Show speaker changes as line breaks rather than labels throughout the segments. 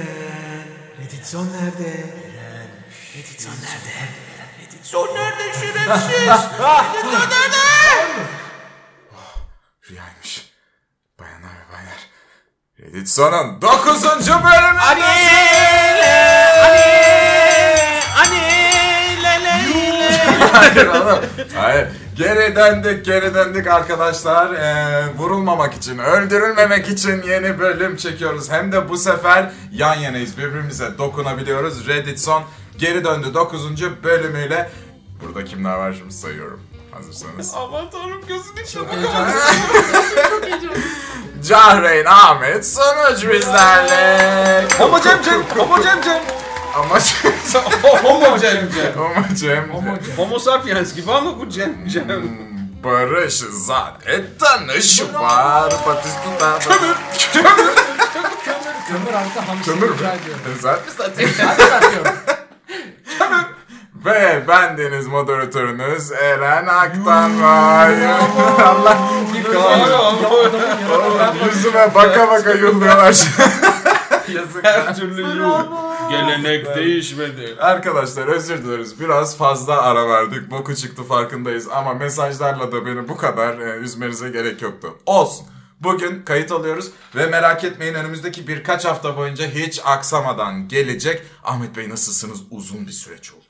Eren. Reditson nerede? Eren. Reditson nerede? Reditson nerede şerefsiz? Reditson nerede?
Rüyaymış. Bayanlar ve baylar. Redditson'un 9. bölümünde
Ani le ani ani le le le.
Hayır oğlum. Hayır. Geri döndük, geri döndük arkadaşlar. Ee, vurulmamak için, öldürülmemek için yeni bölüm çekiyoruz. Hem de bu sefer yan yanayız. Birbirimize dokunabiliyoruz. Redditson geri döndü 9. bölümüyle. Burada kimler var şimdi sayıyorum. Hazırsanız.
Aman tanrım gözünü çabuk
Cahreyn Ahmet sonuç bizlerle.
Homo Cem Cem, Homo Cem Cem.
Ama
Homo Cem Cem.
Ama Cem.
Homo sapiens gibi ama bu Cem Cem.
Barış zaten tanışı var. Batista. Kömür.
Kömür artı hamsi
Kömür mü?
rica ediyorum.
Zaten
Hadi bakıyorum.
Ve bendeniz moderatörünüz Eren Aktanray. Allah
Abi, abi,
yüzüme baka baka yolluyorlar.
Her türlü yuh. Gelenek değişmedi.
Arkadaşlar özür dileriz. Biraz fazla ara verdik. Boku çıktı farkındayız. Ama mesajlarla da beni bu kadar e, üzmenize gerek yoktu. Olsun. Bugün kayıt alıyoruz ve merak etmeyin önümüzdeki birkaç hafta boyunca hiç aksamadan gelecek. Ahmet Bey nasılsınız? Uzun bir süreç oldu.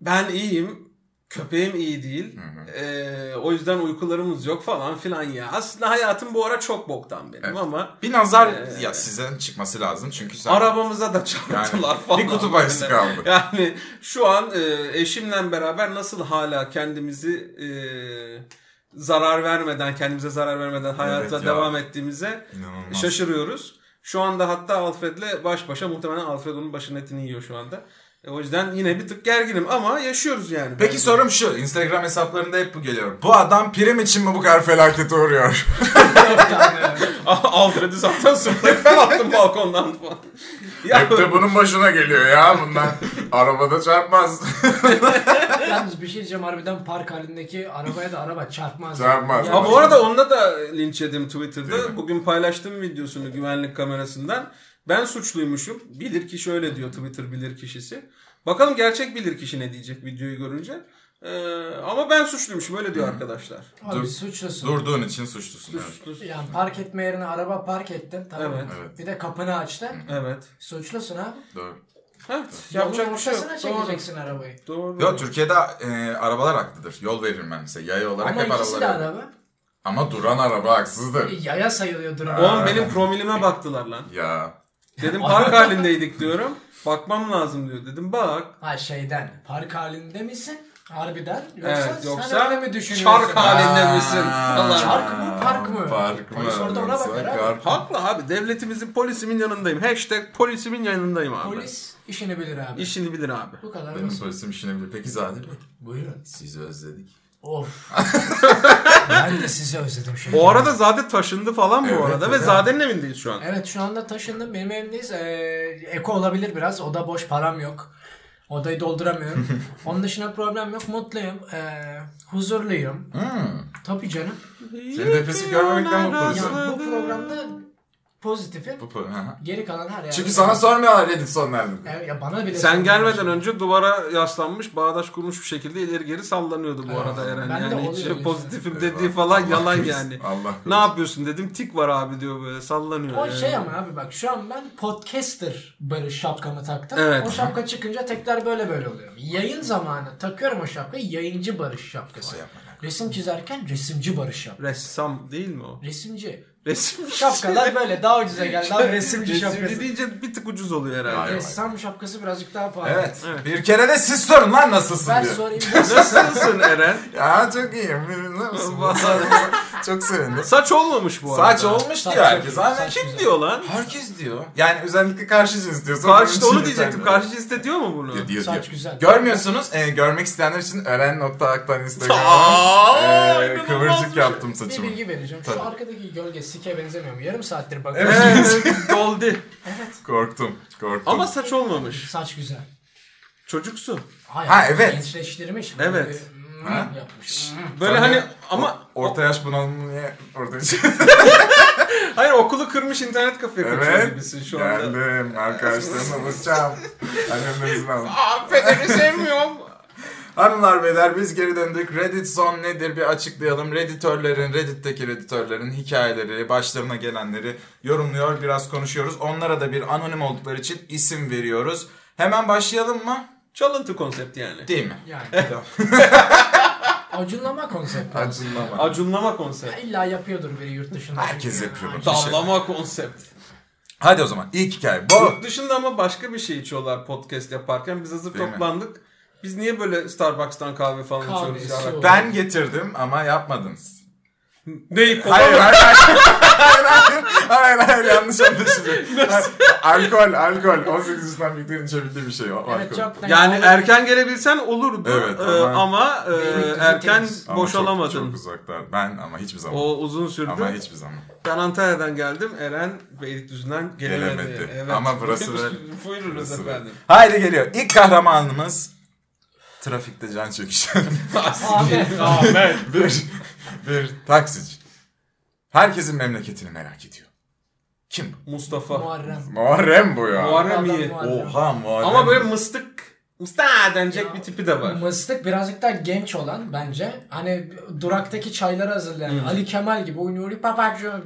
Ben iyiyim. Köpeğim iyi değil. Ee, o yüzden uykularımız yok falan filan ya. Aslında hayatım bu ara çok boktan benim ama
Bir nazar
Ee,
ya sizden çıkması lazım çünkü sen...
arabamıza da
Yani
çarptılar falan.
bir kutu bahisi kaldı.
Yani şu an e, eşimle beraber nasıl hala kendimizi e, zarar vermeden, kendimize zarar vermeden hayata
ya.
devam ettiğimize
İnanılmaz.
şaşırıyoruz. Şu anda hatta Alfred'le baş başa muhtemelen Alfred onun başının etini yiyor şu anda. E, o yüzden yine bir tık gerginim ama yaşıyoruz yani.
Peki
Bence.
sorum şu. Instagram hesaplarında hep bu geliyor. Bu adam prim için mi bu kadar felakete uğruyor?
Alfred'i zaten sırtlayıp ben attım balkondan falan. Ya,
hep de bunun başına geliyor ya bundan. Arabada çarpmaz.
Yalnız bir şey diyeceğim harbiden park halindeki arabaya da araba çarpmaz.
Çarpmaz.
Ha, bu arada onda da linç yedim
Değil
Twitter'da.
mi?
Bugün paylaştım videosunu güvenlik kamerasından. Ben suçluymuşum. Bilir kişi öyle diyor Twitter bilir kişisi. Bakalım gerçek bilir kişi ne diyecek videoyu görünce. Ee, ama ben suçluymuşum öyle diyor arkadaşlar.
Abi
Dur.
suçlusun.
Durduğun için suçlusun. evet.
Yani park etme yerine araba park ettin. Tamam. mı?
Evet.
Evet.
Bir de kapını açtın.
Evet.
Suçlusun abi.
Doğru.
Heh,
Yolun
yapacak bir şey yok.
ortasına
Doğru.
çekeceksin arabayı.
Doğru.
Yo, Türkiye'de e, arabalar haklıdır. Yol verilmem mesela. Yaya olarak
Ama
hep
ikisi
arabalar.
de araba.
Ama duran araba haksızdır.
Yaya sayılıyor durum.
Oğlum benim promilime baktılar lan.
Ya.
Dedim park halindeydik diyorum. Bakmam lazım diyor. Dedim bak.
Ha şeyden. Park halinde misin? Harbiden. Yoksa,
Evet
sen
yoksa
öyle mi düşünüyorsun?
çark halinde misin?
Aa.
Falan.
Çark mı park mı?
Park mı?
Polis orada ona
Yoksa
bakar abi.
kar-
Haklı abi. Devletimizin polisimin yanındayım. Hashtag polisimin yanındayım abi.
Polis işini bilir abi.
İşini bilir abi.
Bu kadar
Benim
basit.
polisim işine bilir. Peki Zadir Bey?
Buyurun.
Sizi özledik.
Of. ben de sizi özledim şimdi.
Bu arada Zade taşındı falan bu
Evet,
arada ve
evet.
Zade'nin evindeyiz şu an.
Evet şu anda taşındım. Benim evimdeyiz. Ee, eko olabilir biraz. Oda boş. Param yok. Odayı dolduramıyorum. Onun dışında problem yok. Mutluyum. Ee, huzurluyum.
Hmm.
Tabii canım.
Seni depresif görmemekten mutluyuz.
Yani bu programda pozitifim.
Bu pro- Hı hı.
Geri kalan her yerde.
Çünkü sana sormuyorlar Reddit son nerede?
Ya- ya bana bile
Sen
sorun
gelmeden
yok.
önce duvara yaslanmış, bağdaş kurmuş bir şekilde ileri geri sallanıyordu bu arada Eren.
ben de
yani hiç
oluyor işte.
pozitifim dediği
Eyvah.
falan
Allah
yalan
korusun.
yani.
Allah korusun.
Ne yapıyorsun dedim tik var abi diyor böyle sallanıyor.
O
yani.
şey ama abi bak şu an ben podcaster böyle şapkamı taktım.
Evet.
O şapka çıkınca tekrar böyle böyle oluyor. Yayın zamanı takıyorum o şapkayı yayıncı barış
Şey
şapkası. Resim çizerken resimci barış şapkası.
Ressam değil mi o?
Resimci.
Resim.
Şapkalar böyle daha ucuza geldi abi resimci
Resimci
şapkası.
deyince bir tık ucuz oluyor herhalde.
Hayır.
Ressam şapkası birazcık daha pahalı.
Evet. Bir kere de siz sorun lan nasılsın
Ben
diye.
sorayım.
Nasılsın Eren?
Ya çok iyiyim. Bilmem misin? çok sevindim.
Saç olmamış bu arada.
Saç olmuş
Saç
diyor
çok
herkes.
iyi,
Abi
saç
kim
güzel.
diyor lan?
Herkes diyor. Yani özellikle karşı cins diyor. Sonra
Karşı da onu
üçüncü
diyecektim.
tane.
Karşı cins de diyor mu bunu?
diyor, diyor,
Saç
diyor.
güzel.
Görmüyorsunuz. Ee, görmek isteyenler için ören.aktan
Aa,
Instagram'dan ee,
inanılmaz bir
kıvırcık
şey.
yaptım
Bir
saçımı.
bilgi vereceğim. Şu
Tabii.
arkadaki gölge sike benzemiyor mu? Yarım saattir bakıyorum.
Evet, doldi.
Korktum. Korktum.
Ama saç olmamış.
Saç güzel.
Çocuksu.
Hayır,
Ha, evet.
Gençleştirmiş.
Evet.
Böyle, mm,
Ha?
Yapmış.
Böyle
Sen de-
hani ama
Orta yaş bunalımı niye ortaya
Hayır okulu kırmış internet kafeye kaçıyor
Evet.
gibisin şu anda.
Geldim arkadaşlarımla buluşacağım. Annemizin alın.
Aa Fener'i sevmiyorum.
Hanımlar beyler biz geri döndük. Reddit son nedir bir açıklayalım. Redditörlerin, Reddit'teki redditörlerin hikayeleri, başlarına gelenleri yorumluyor, biraz konuşuyoruz. Onlara da bir anonim oldukları için isim veriyoruz. Hemen başlayalım mı?
Çalıntı konsepti yani.
Değil mi?
Yani acunlama konsepti.
Acınlama.
Acunlama konsepti.
İlla yapıyordur biri yurt dışında.
Herkes yapıyor bunu.
Dallama konsept.
Hadi o zaman ilk hikaye bu.
Yurt dışında ama başka bir şey içiyorlar podcast yaparken. Biz hazır
Değil mi?
toplandık. Biz niye böyle Starbucks'tan kahve falan
Kahve,
içiyoruz? ya?
su.
Ben getirdim ama yapmadınız.
Neyi kola
Hayır
mı?
hayır hayır. hayır hayır hayır hayır yanlış anlaşılıyor. alkol alkol 18 yaşından büyüklerin içebildiği bir şey o.
Evet
alkol.
çok da-
Yani erken gelebilsen olurdu
Evet,
Ee,
ama-
ama, e,
Benim
erken
gittiğimiz-
Ama
boşalamadın.
Çok, çok uzaklar. Ben ama hiçbir zaman.
O uzun sürdü.
Ama hiçbir zaman.
Ben Antalya'dan geldim. Eren Beylikdüzü'nden gelemedi.
Gelemedi. Ama burası da-
Buyurunuz
Burası da-
efendim.
Haydi geliyor. İlk kahramanımız trafikte can çekişen
Ahmet.
Ahmet.
bir, bir taksici. Herkesin memleketini merak ediyor. Kim bu?
Mustafa.
Muharrem.
Muharrem bu ya.
Muharrem.
Adam
iyi.
Muharrem.
Oha Muharrem.
Ama böyle mıstık. Mıstık denecek
Ya.
bir tipi de var.
Mıstık birazcık daha genç olan bence. Hani duraktaki çayları hazırlayan Ali Kemal gibi oynuyor. Papacığım.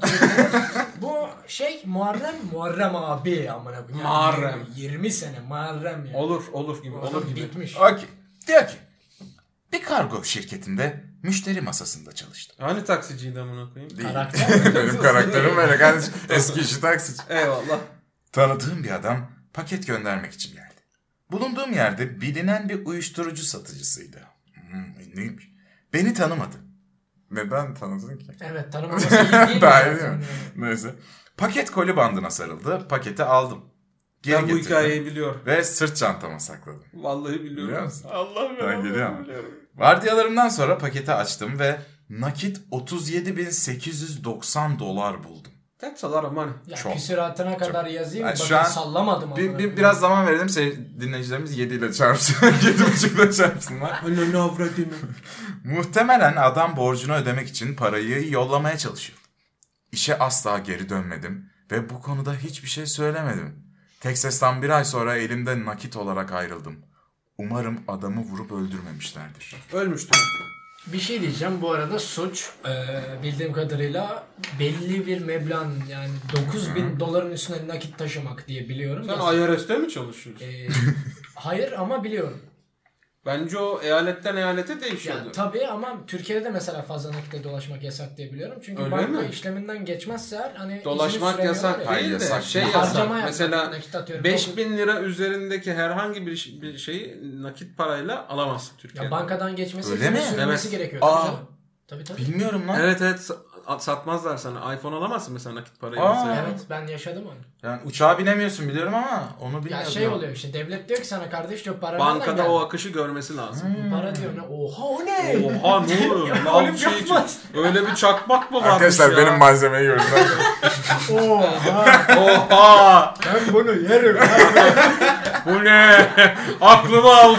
Bu şey Muharrem Muharrem abi amına koyayım. Yani
Muharrem.
20 sene Muharrem ya.
Olur, olur gibi, olur gibi.
bitmiş.
Okey. Diyor ki bir kargo şirketinde müşteri masasında çalıştım.
Hani taksiciydi amına koyayım?
Değil.
Karakter.
Benim karakterim böyle kardeşim. Eski işi taksici.
Eyvallah.
Tanıdığım bir adam paket göndermek için geldi. Bulunduğum yerde bilinen bir uyuşturucu satıcısıydı. Hmm, neymiş? Beni tanımadı. Neden tanıdın ki?
Evet tanımaması iyi değil mi?
Daha iyi değil
zaten?
mi? Neyse. Paket koli bandına sarıldı. Paketi aldım. Geri
ben bu
getirdim
hikayeyi biliyorum.
Ve sırt çantama sakladım.
Vallahi biliyorum.
Biliyor musun?
Allah'ım ya.
Ben
Allah'ım
geliyor ama.
biliyorum.
Vardiyalarımdan sonra paketi açtım ve nakit 37.890 dolar buldum.
That's a lot of money.
Ya
Çok.
küsüratına kadar yazayım.
Yani şu
Bakın
an
sallamadım.
Bir,
amına
bir,
koyayım.
biraz zaman verelim sevgili dinleyicilerimiz 7 ile çarpsınlar, 7.5 ile çarpsınlar.
Anne Hani ne avradını.
Muhtemelen adam borcunu ödemek için parayı yollamaya çalışıyordu. İşe asla geri dönmedim ve bu konuda hiçbir şey söylemedim. Texas'tan bir ay sonra elimde nakit olarak ayrıldım. Umarım adamı vurup öldürmemişlerdir.
Ölmüştüm.
Bir şey diyeceğim bu arada suç eee, bildiğim kadarıyla belli bir meblağın yani 9000 doların üstüne nakit taşımak diye biliyorum. da-
Sen IRS'te mi çalışıyorsun?
Eee, Ee, hayır ama biliyorum.
Bence o eyaletten eyalete
Yani
değişiyordu.
tabii ama Türkiye'de de mesela fazla nakitle dolaşmak yasak diye biliyorum. Çünkü
Öyle
banka
mi?
işleminden geçmezse eğer hani izini
Dolaşmak
süremiyorlar
yasak
ya.
Hayır,
değil de
yasak.
şey
Harcama
yasak.
yapmak,
Mesela
nakit atıyorum.
5000 lira üzerindeki herhangi bir, ş- bir şeyi nakit parayla alamazsın Türkiye'de.
Ya bankadan geçmesi
Öyle
izini
mi?
sürmesi
Evet.
gerekiyor.
Aa.
Tabii canım. Tabii tabii.
Bilmiyorum lan.
Evet evet sa- satmazlar sana. iPhone alamazsın mesela nakit parayı.
Aa.
mesela.
Evet ben yaşadım onu.
Yani uçağa binemiyorsun biliyorum ama onu bilmiyorum.
Ya şey oluyor işte devlet diyor ki sana kardeş diyor para nereden
Bankada
geldi? Hmm.
o akışı görmesi lazım.
Para diyor ne? Oha o ne?
Oha ne oluyor?
Ya
Lan
oğlum
şey için.
yapmaz.
Öyle bir çakmak mı varmış
Arkadaşlar
ya?
benim malzemeyi gördüler.
Oha.
Oha!
ben bunu yerim.
Bu ne? Aklımı aldı.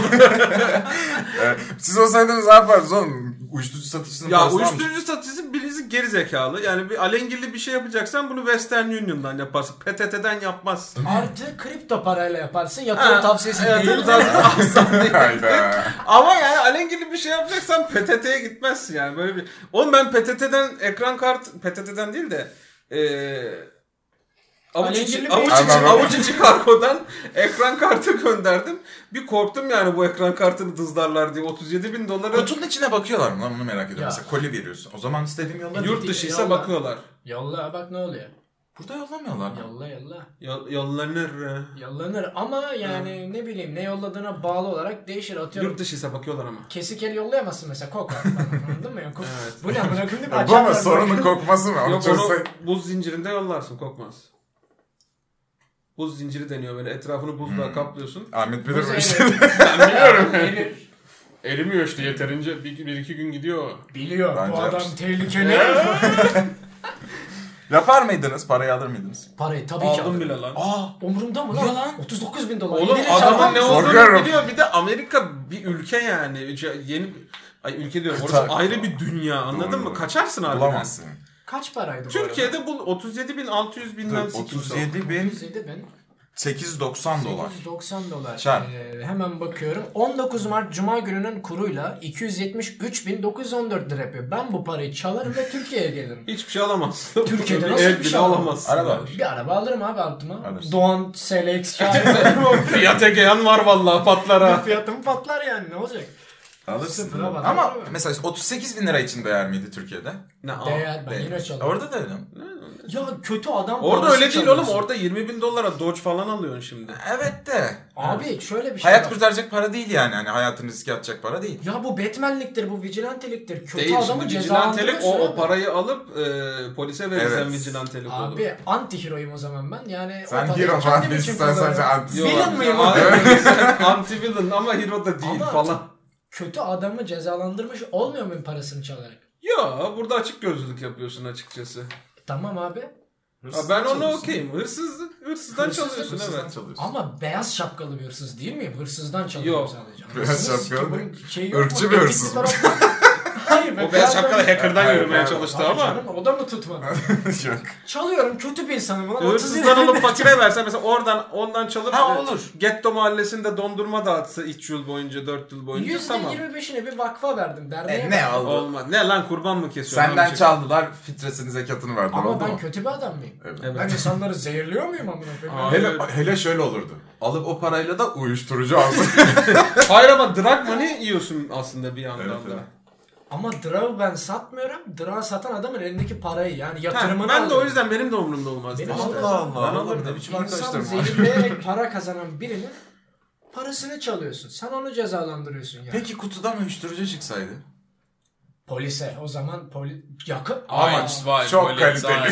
Ee, Siz olsaydınız ne yapardınız oğlum? Uyuşturucu satıcısının
ya
parasını almış.
uyuşturucu satıcısı birisi geri zekalı. Yani bir alengirli bir şey yapacaksan bunu Western Union'dan yaparsın. PTT'den yapmazsın.
Artı kripto parayla yaparsın. Yatırım tavsiyesi
Evet,
değil.
bu tarz-
Hayda.
Ama yani alengirli bir şey yapacaksan PTT'ye gitmezsin yani. Böyle bir... Oğlum ben PTT'den ekran kart... PTT'den değil de... eee Avuç
Alengirli
içi,
bir- şey
avuç, içi,
Anladım.
avuç içi kargodan ekran kartı gönderdim. Bir korktum yani bu ekran kartını dızlarlar diye. 37 bin dolara
Kutunun içine bakıyorlar mı lan onu merak ediyorum.
Ya.
Mesela koli veriyorsun. O zaman istediğim yolla
yurt dışıysa
Eyvallah.
bakıyorlar.
Yolla bak ne oluyor.
Burada yollamıyorlar.
Yolla yolla.
Yol- Yollanır.
Yollanır ama yani ne bileyim ne yolladığına bağlı olarak değişir. Atıyorum
Yurt dışıysa bakıyorlar ama.
kesik el yollayamazsın mesela koka. Anladın mı? Yani, kok-
Evet.
Bu ne amına koyayım değil mi?
E, Bu ama
Açarlar
sorunun
böyle.
kokması mı?
Yok
Açarsa-
onu buz zincirinde yollarsın kokmaz. Buz zinciri deniyor böyle etrafını buzla
Hmm.
kaplıyorsun.
Ahmet bilir bu
Mesela-
işleri.
Ben biliyorum.
Bilir.
Erimiyor işte yeterince bir, bir iki gün gidiyor.
Biliyor.
Bence
bu adam
yapsın.
tehlikeli.
Yapar mıydınız? Parayı alır mıydınız?
Parayı tabii ki
Aldım
alır.
bile lan.
Aa
Umurumda mı lan? 39 bin dolar.
Oğlum
Yine de
adamın
çarpan-
ne olduğunu
Korkuyorum.
biliyor. Bir de Amerika bir ülke yani. Üce- Yeni ay ülke diyorum. Orası
Kıta.
ayrı bir dünya anladın
Doğru,
mı?
doğru.
Kaçarsın abi.
bulamazsın.
Kaç paraydı bu arada?
Türkiye'de bu 37.600 bilmem 800 oldu.
37.890
Türkiye'de ben
dolar.
890 dolar.
Çarp.
Ee, hemen bakıyorum. 19 Mart Cuma gününün kuruyla 273.914 lira yapıyor. Ben bu parayı çalarım ve Türkiye'ye gelirim.
Hiçbir şey alamazsın.
Türkiye'de nasıl
Ev
bir
bile
şey alamam?
alamazsın.
Araba
Yani.
var.
Bir araba alırım abi altıma.
Alırsın.
Doğan SLX kağıdı.
Fiat Egea'nın var vallahi patlar ha.
Fiyatım patlar yani ne olacak?
Alırsın.
Sıfıra bak.
Ama mesela 38 bin lira için değer miydi Türkiye'de?
Ne, al.
Değer ben
Değil.
yine çalarım.
Orada da öyle. mi?
Ya kötü adam
Ah Orada
parası
öyle değil oğlum.
çalıyorsun.
Orada 20 bin dolara Dodge falan alıyorsun şimdi.
Evet de.
Abi şöyle bir şey
Hayat
var.
kurtaracak para değil yani. Hani hayatını riske atacak para değil.
Ya bu Batman'liktir, bu vigilanteliktir. Kötü
Değil
adamı
şimdi vigilantelik
cezalandırıyorsun.
o,
abi.
o parayı alıp e, polise verirsen
Evet.
vigilantelik olur.
Abi anti heroyum o zaman ben. Yani
Sen
o parayı
hero
kendim
falan
için
değilsin, sen
kullanıyorum.
sadece anti-
Yok,
Villain
abi,
mıyım
abi?
abi?
Anti villain ama hero da değil
Ama-
falan.
Kötü adamı cezalandırmış olmuyor muyum parasını çalarak?
Ya burada açık gözlülük yapıyorsun açıkçası.
Tamam abi.
Ha, ben ona okeyim. Hırsızlık, hırsızdan çalıyorsun evet.
Ama beyaz şapkalı bir hırsız değil mi? Hırsızdan çalıyorum
Yok.
sadece.
Beyaz
Hırsız ki
şapkalı
bunun şeyi
Irkçı
mu?
bir
Etik
hırsız mı?
taraf var. Hayır be,
O beyaz şapkalı
böyle-
hacker'dan
Hayır,
yürümeye
hayır.
çalıştı
Hayır
ama.
canım, o da mı tutmadı?
Yok.
Çalıyorum kötü bir insanım. Ulan
Hırsızdan
37
alıp fakire versen mesela oradan ondan çalıp
Ha,
e,
olur.
Getto mahallesinde dondurma dağıtsa 3 yıl boyunca 4 yıl boyunca tamam.
%25'ine bir vakfa verdim derneğe.
E, ne
verdim.
aldı?
Olmaz. Ne lan kurban mı kesiyorsun? şey.
Senden
Abi,
çaldılar fitresini zekatını verdiler.
Ama
oldu
ben
mu?
kötü bir adam mıyım?
Evet.
Evet.
Ben insanları zehirliyor muyum amına koyayım?
Aa.
Hele, hele şöyle olurdu. Alıp o parayla da uyuşturucu alsın.
Hayır ama drug money yiyorsun aslında bir yandan
Evet,
da.
evet.
Ama draw ben satmıyorum. Draw satan adamın elindeki parayı yani
Ha,
yatırımını
ben de o
alıyorum.
yüzden benim de umurumda olmaz.
Benim
demiştim.
Allah Allah.
Ben
alırım.
alırım. Ne biçim
İnsan
arkadaşlarım var.
zehirleyerek para kazanan birinin parasını çalıyorsun. Sen onu cezalandırıyorsun yani.
Peki kutudan uyuşturucu çıksaydı?
Polise o zaman poli... yakın.
Ama çok kaliteli.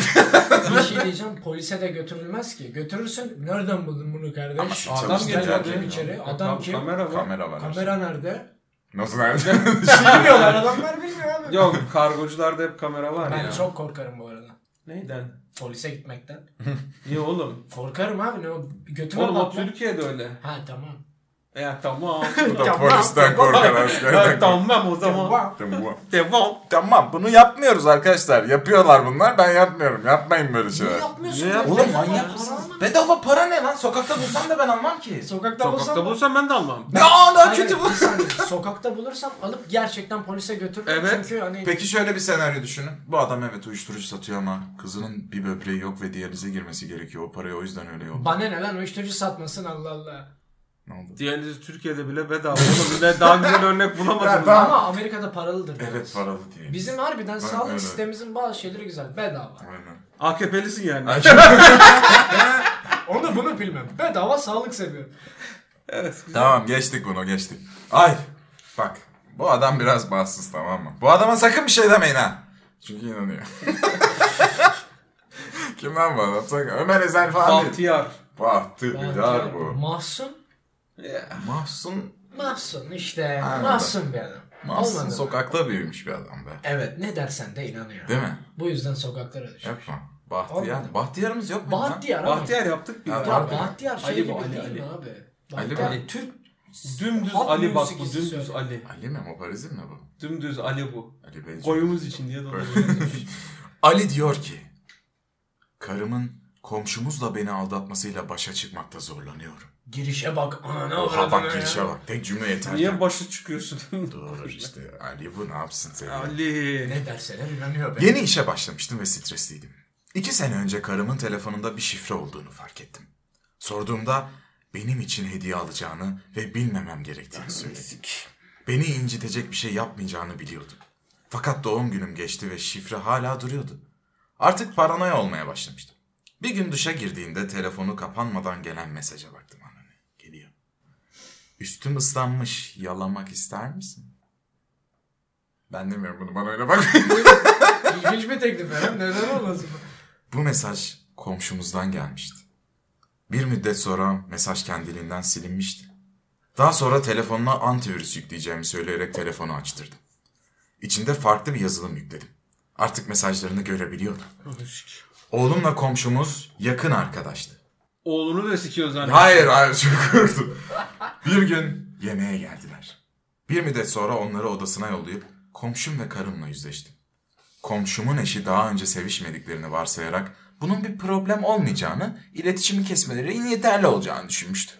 bir şey diyeceğim polise de götürülmez ki. Götürürsün nereden buldun bunu kardeş?
Ama
adam
çalıştı
geliyor
derken
içeri.
ya.
Adam
Kam-
kim? Kamera,
Kamera var.
Kamera var.
nerede?
Nasıl nerede?
Bilmiyorlar adamlar bilmiyor abi.
Yok kargocularda hep kamera var
Ben
ya.
çok korkarım bu arada.
Neyden?
Polise gitmekten.
Niye oğlum?
Korkarım abi ne o götüme
Oğlum o
bakma.
Türkiye'de öyle.
Ha tamam.
Ya tamam.
Bu da polisten korkan
ya,
askerden korkan.
tamam o zaman.
Tamam.
Tamam.
Devam.
Tamam bunu yapmıyoruz arkadaşlar. Yapıyorlar bunlar. Ben yapmıyorum. Yapmayın böyle
Niye
şeyler.
yapmıyorsun?
Ne
ya?
yap-
Oğlum
Bedava
manyak
para
mısınız?
alma.
Bedava para ne lan? Sokakta bulsam da ben almam ki.
Sokakta
Sokakta
bulsam
bulsam ben de almam.
Ne aa daha
Hayır,
kötü bu.
bir saniye. Sokakta bulursam alıp gerçekten polise götürürüm.
Evet.
Çünkü hani
Peki şöyle bir senaryo düşünün. Bu adam evet uyuşturucu satıyor ama kızının bir böbreği yok ve diyalize girmesi gerekiyor. O parayı o yüzden öyle yok.
bana ne lan uyuşturucu satmasın Allah Allah.
Ne oldu?
Diğerleri Türkiye'de bile bedava. Oğlum ne daha güzel örnek bulamadım.
Ben-
Ama Amerika'da paralıdır.
Evet
biraz.
paralı diye.
Bizim harbiden sağlık
öyle.
sistemimizin bazı şeyleri güzel. Bedava.
Aynen.
AKP'lisin yani.
Onu bunu bilmem. Bedava sağlık seviyorum.
evet.
Tamam geçtik bunu geçtik. Ay bak bu adam biraz bahtsız tamam mı? Bu adama sakın bir şey demeyin ha. Çünkü inanıyor. Kim lan bu adam? Sakın. Ömer Ezel falan değil.
Bahtiyar.
Bahtiyar bu.
Mahsun.
Mahsun,
Mahsun işte.
Aynen.
Mahsun bir adam.
Mahsun
Olmadı mı?
sokakta büyümüş bir adam be.
Evet ne dersen de inanıyor.
Değil mi?
Bu yüzden sokaklara düşüyor.
Yapma. Bahtiyar.
Olmadı.
Bahtiyarımız yok mu? lan?
Bahtiyar abi.
Bahtiyar yaptık bir.
Ha,
daha.
Ya Bahtiyar şey
Ali bu,
gibi
Ali,
değil
Ali.
mi abi?
Ali
Bahtiyar
mi?
Türk
Dümdüz
Halk
Ali bak bu.
müziği
Dümdüz
söyle.
Ali.
Ali mi? Moparizm mi bu?
Dümdüz Ali bu.
Ali Bey.
Koyumuz için diye dolanıyor.
Ali diyor ki, karımın komşumuzla beni aldatmasıyla başa çıkmakta zorlanıyorum.
girişe bak ana
Oha
avradına
bak
ya.
girişe bak. Tek cümle yeter.
Niye başı çıkıyorsun?
Doğru işte. Ali bu ne yapsın seni?
Ali.
Ne derseler inanıyor be.
Yeni işe başlamıştım ve stresliydim. İki sene önce karımın telefonunda bir şifre olduğunu fark ettim. Sorduğumda benim için hediye alacağını ve bilmemem gerektiğini söyledi. Beni incitecek bir şey yapmayacağını biliyordum. Fakat doğum günüm geçti ve şifre hala duruyordu. Artık paranoya olmaya başlamıştım. Bir gün duşa girdiğinde telefonu kapanmadan gelen mesaja baktım anne. Geliyor. Üstüm ıslanmış. Yalamak ister misin? Ben demiyorum bunu bana öyle bak.
İlginç bir teklif ya. Neden olmasın?
Bu mesaj komşumuzdan gelmişti. Bir müddet sonra mesaj kendiliğinden silinmişti. Daha sonra telefonuna antivirüs yükleyeceğimi söyleyerek telefonu açtırdım. İçinde farklı bir yazılım yükledim. Artık mesajlarını görebiliyordum. Oğlumla komşumuz yakın arkadaştı.
Oğlunu da hani. sikiyor zaten.
Hayır hayır çok korktum. Bir gün yemeğe geldiler. Bir müddet sonra onları odasına yollayıp komşum ve karımla yüzleştim. komşumun eşi daha önce sevişmediklerini varsayarak bunun bir problem olmayacağını, iletişimi kesmelerinin yeterli olacağını düşünmüştü.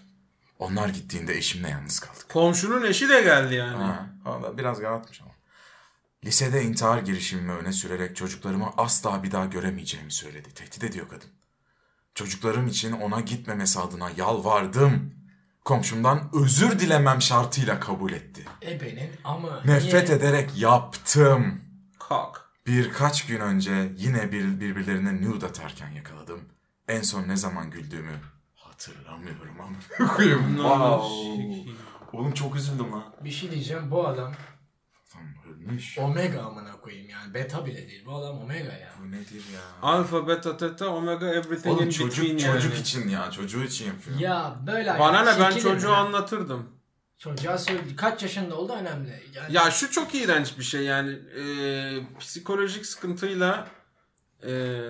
Onlar gittiğinde eşimle yalnız kaldık.
Komşunun eşi de geldi yani.
Ha, valla biraz yaratmış ama. Lisede intihar girişimimi öne sürerek çocuklarımı asla bir daha göremeyeceğimi söyledi. Tehdit ediyor kadın. Çocuklarım için ona gitmemesi adına yalvardım. Komşumdan özür dilemem şartıyla kabul etti.
Ebenin E ama
Nefret
niye?
ederek yaptım.
Kalk.
Birkaç gün önce yine bir, birbirlerine nude atarken yakaladım. En son ne zaman güldüğümü hatırlamıyorum ama. Koyayım. wow. Oğlum çok üzüldüm lan.
Bir şey diyeceğim bu adam
Tam ölmüş.
omega amına koyayım yani beta bile değil bu adam omega ya.
Bu nedir ya?
Alfa, beta, teta, omega, everything
Oğlum
in
çocuk,
between
çocuk
yani.
için ya. Çocuğu için yapıyor.
Ya böyle
Bana ne ben
çekilin
çocuğu
ya.
anlatırdım.
Çocuğa söyle kaç yaşında oldu önemli. Yani
Ya şu çok iğrenç bir şey yani Ee, psikolojik sıkıntıyla ee,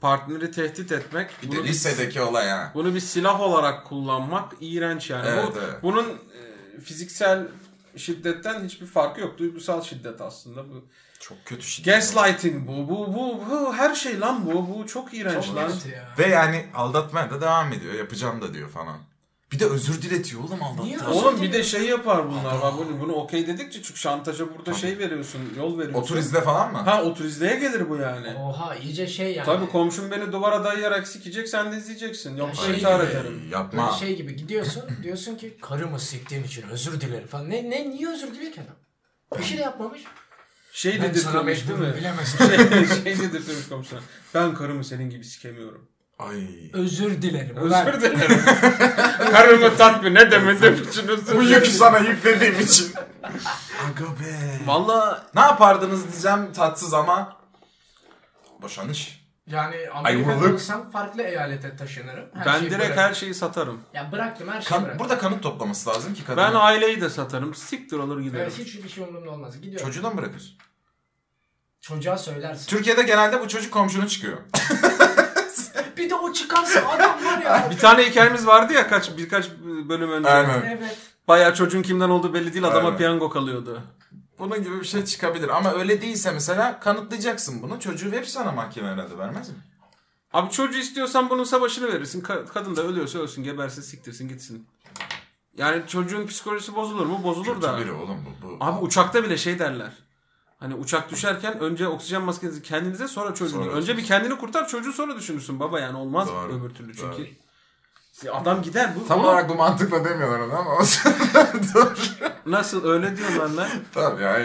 partneri tehdit etmek.
Bir
bunu
de
bir-
lisedeki olay ha.
bunu bir silah olarak kullanmak iğrenç yani.
Evet,
Bu,
evet.
Bunun ee, fiziksel şiddetten hiçbir farkı yok. Duygusal şiddet aslında bu.
Çok kötü şey.
Gaslighting bu. Bu bu bu her şey lan bu. Bu çok iğrenç
çok
lan.
kötü ya.
Ve yani aldatmaya da devam ediyor. Yapacağım da diyor falan. Bir de özür diletiyor oğlum
Niye?
aldattığı.
Oğlum bir de şey yapar bunlar. Bak bunu, bunu okey dedikçe çünkü şantaja burada şey veriyorsun, yol veriyorsun.
Otur izle falan mı?
Ha otur izleye gelir bu yani.
Oha iyice şey yani.
Tabii komşum beni duvara dayayarak sikecek sen de izleyeceksin. Yoksa
şey
intihar
gibi.
ederim.
Böyle
Yapma.
şey gibi gidiyorsun diyorsun ki karımı siktiğim için özür dilerim falan. Ne, ne niye özür diliyor ki adam? Bir şey de yapmamış.
Şey
Ben sana
dedirtilmiş değil
mecburum
mi?
bilemezsin.
şey, şey dedirtilmiş komşuna. Ben karımı senin gibi sikemiyorum.
Ay.
özür dilerim. Ulan,
Özür dilerim. karımı tatmin edemedim için özür
Bu
dilerim.
yükü sana yüklediğim için. Aga be.
Valla
Ne yapardınız diyeceğim tatsız ama boşanış.
Yani
Ayrılık.
Amerika'da olsam farklı eyalete taşınırım. Her
ben
şeyi
direkt
bırakırım.
her şeyi satarım.
Ya bıraktım her şeyi
Kan,
bıraktım.
burada kanıt toplaması lazım ki kadın.
Ben aileyi de satarım. Siktir olur giderim.
Evet, hiç bir şey umurumda olmaz. Gidiyorum.
Çocuğu da mı bırakıyorsun?
Çocuğa söylersin.
Türkiye'de genelde bu çocuk komşunun çıkıyor.
Bir de o çıkarsa adam var ya.
Bir tane hikayemiz vardı ya kaç birkaç bölüm önce.
Aynen.
evet.
Bayağı çocuğun kimden olduğu belli değil adama
Aynen.
piyango kalıyordu.
Bunun gibi bir şey çıkabilir ama öyle değilse mesela kanıtlayacaksın bunu. Çocuğu verir sana mahkeme herhalde vermez mi?
Abi çocuğu istiyorsan bunun savaşını verirsin. Ka- kadın da ölüyorsa ölsün, geberse siktirsin, gitsin. Yani çocuğun psikolojisi bozulur mu? Bozulur da.
Kötü biri oğlum bu. bu.
Abi uçakta bile şey derler. Hani uçak düşerken önce oksijen maskenizi kendinize sonra çocuğunu.
Sonra
önce bir kendini kurtar çocuğu sonra düşünürsün baba yani olmaz
Doğru,
öbür türlü
doğru.
çünkü. Adam gider bu.
Tam
Oğlum,
olarak bu mantıkla demiyorlar onu ama
Nasıl öyle diyorlar lan.
Tamam ya.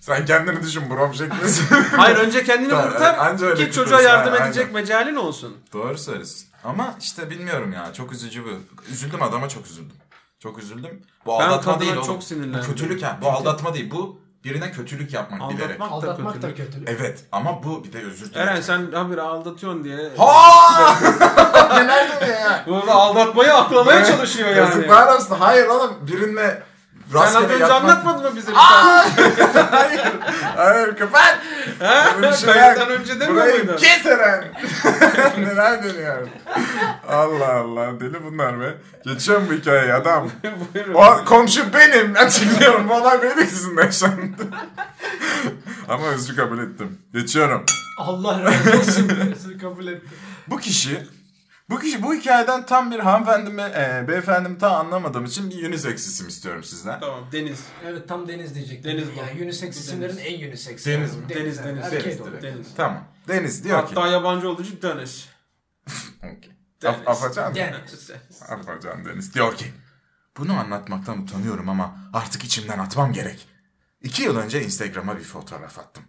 Sen kendini düşün brom şeklinde.
Hayır önce kendini
Tamam, anca
kurtar
öyle
ki
kurtulursun,
çocuğa yardım
aynen.
edecek mecalin olsun.
Doğru söylüyorsun. Ama işte bilmiyorum ya. Çok üzücü bu. Üzüldüm adama çok üzüldüm. Çok üzüldüm. Bu
Ben
aldatma
kadına
değil oğlum.
çok sinirlendim.
Bu kötülük ha. Bu aldatma değil. Bu birine kötülük yapmak bilerek.
Aldatmak da
Aldatmak da
kötülük.
kötülük.
Evet ama bu bir de özür dilerim.
Eren sen habire aldatıyorsun diye.
Neler diyor ya?
Burada aldatmayı aklamaya çalışıyor yani.
Yazıklar olsun. Hayır oğlum birinle
Sen az
rastgele
önce
yatmak-
anlatmadın mı bize bir tane?
Hayır. Hayır kapat.
He?
Böyle bir şey
Kayıttan
yok.
önce demiyor
Burayı
muydun?
kes Eren. Neler dönüyor? Allah Allah deli bunlar be. Geçiyorum bu hikayeyi adam.
Buyurun.
O komşu benim. Açıklıyorum. Bu olay benim yüzümden yaşandı. Ama özrü kabul ettim. Geçiyorum.
Allah razı olsun. Bizi kabul etti.
Bu kişi bu kişi bu hikayeden tam bir hanımefendimi, e, beyefendimi tam anlamadığım için bir unisex isim istiyorum sizden.
Tamam Deniz.
Evet tam Deniz diyecektim.
Deniz bu.
Yani unisex
Bu
isimlerin
Deniz.
en unisex.
Deniz
yani.
mi?
Deniz,
yani.
Deniz,
Erkek
Deniz
olur.
direkt.
Deniz.
Tamam. Deniz diyor
Hatta yabancı olduğu için Deniz.
ki. Okey.
Deniz.
Af- afacan mı?
Deniz.
Afacan Deniz diyor ki. Bunu anlatmaktan utanıyorum ama artık içimden atmam gerek. İki yıl önce Instagram'a bir fotoğraf attım.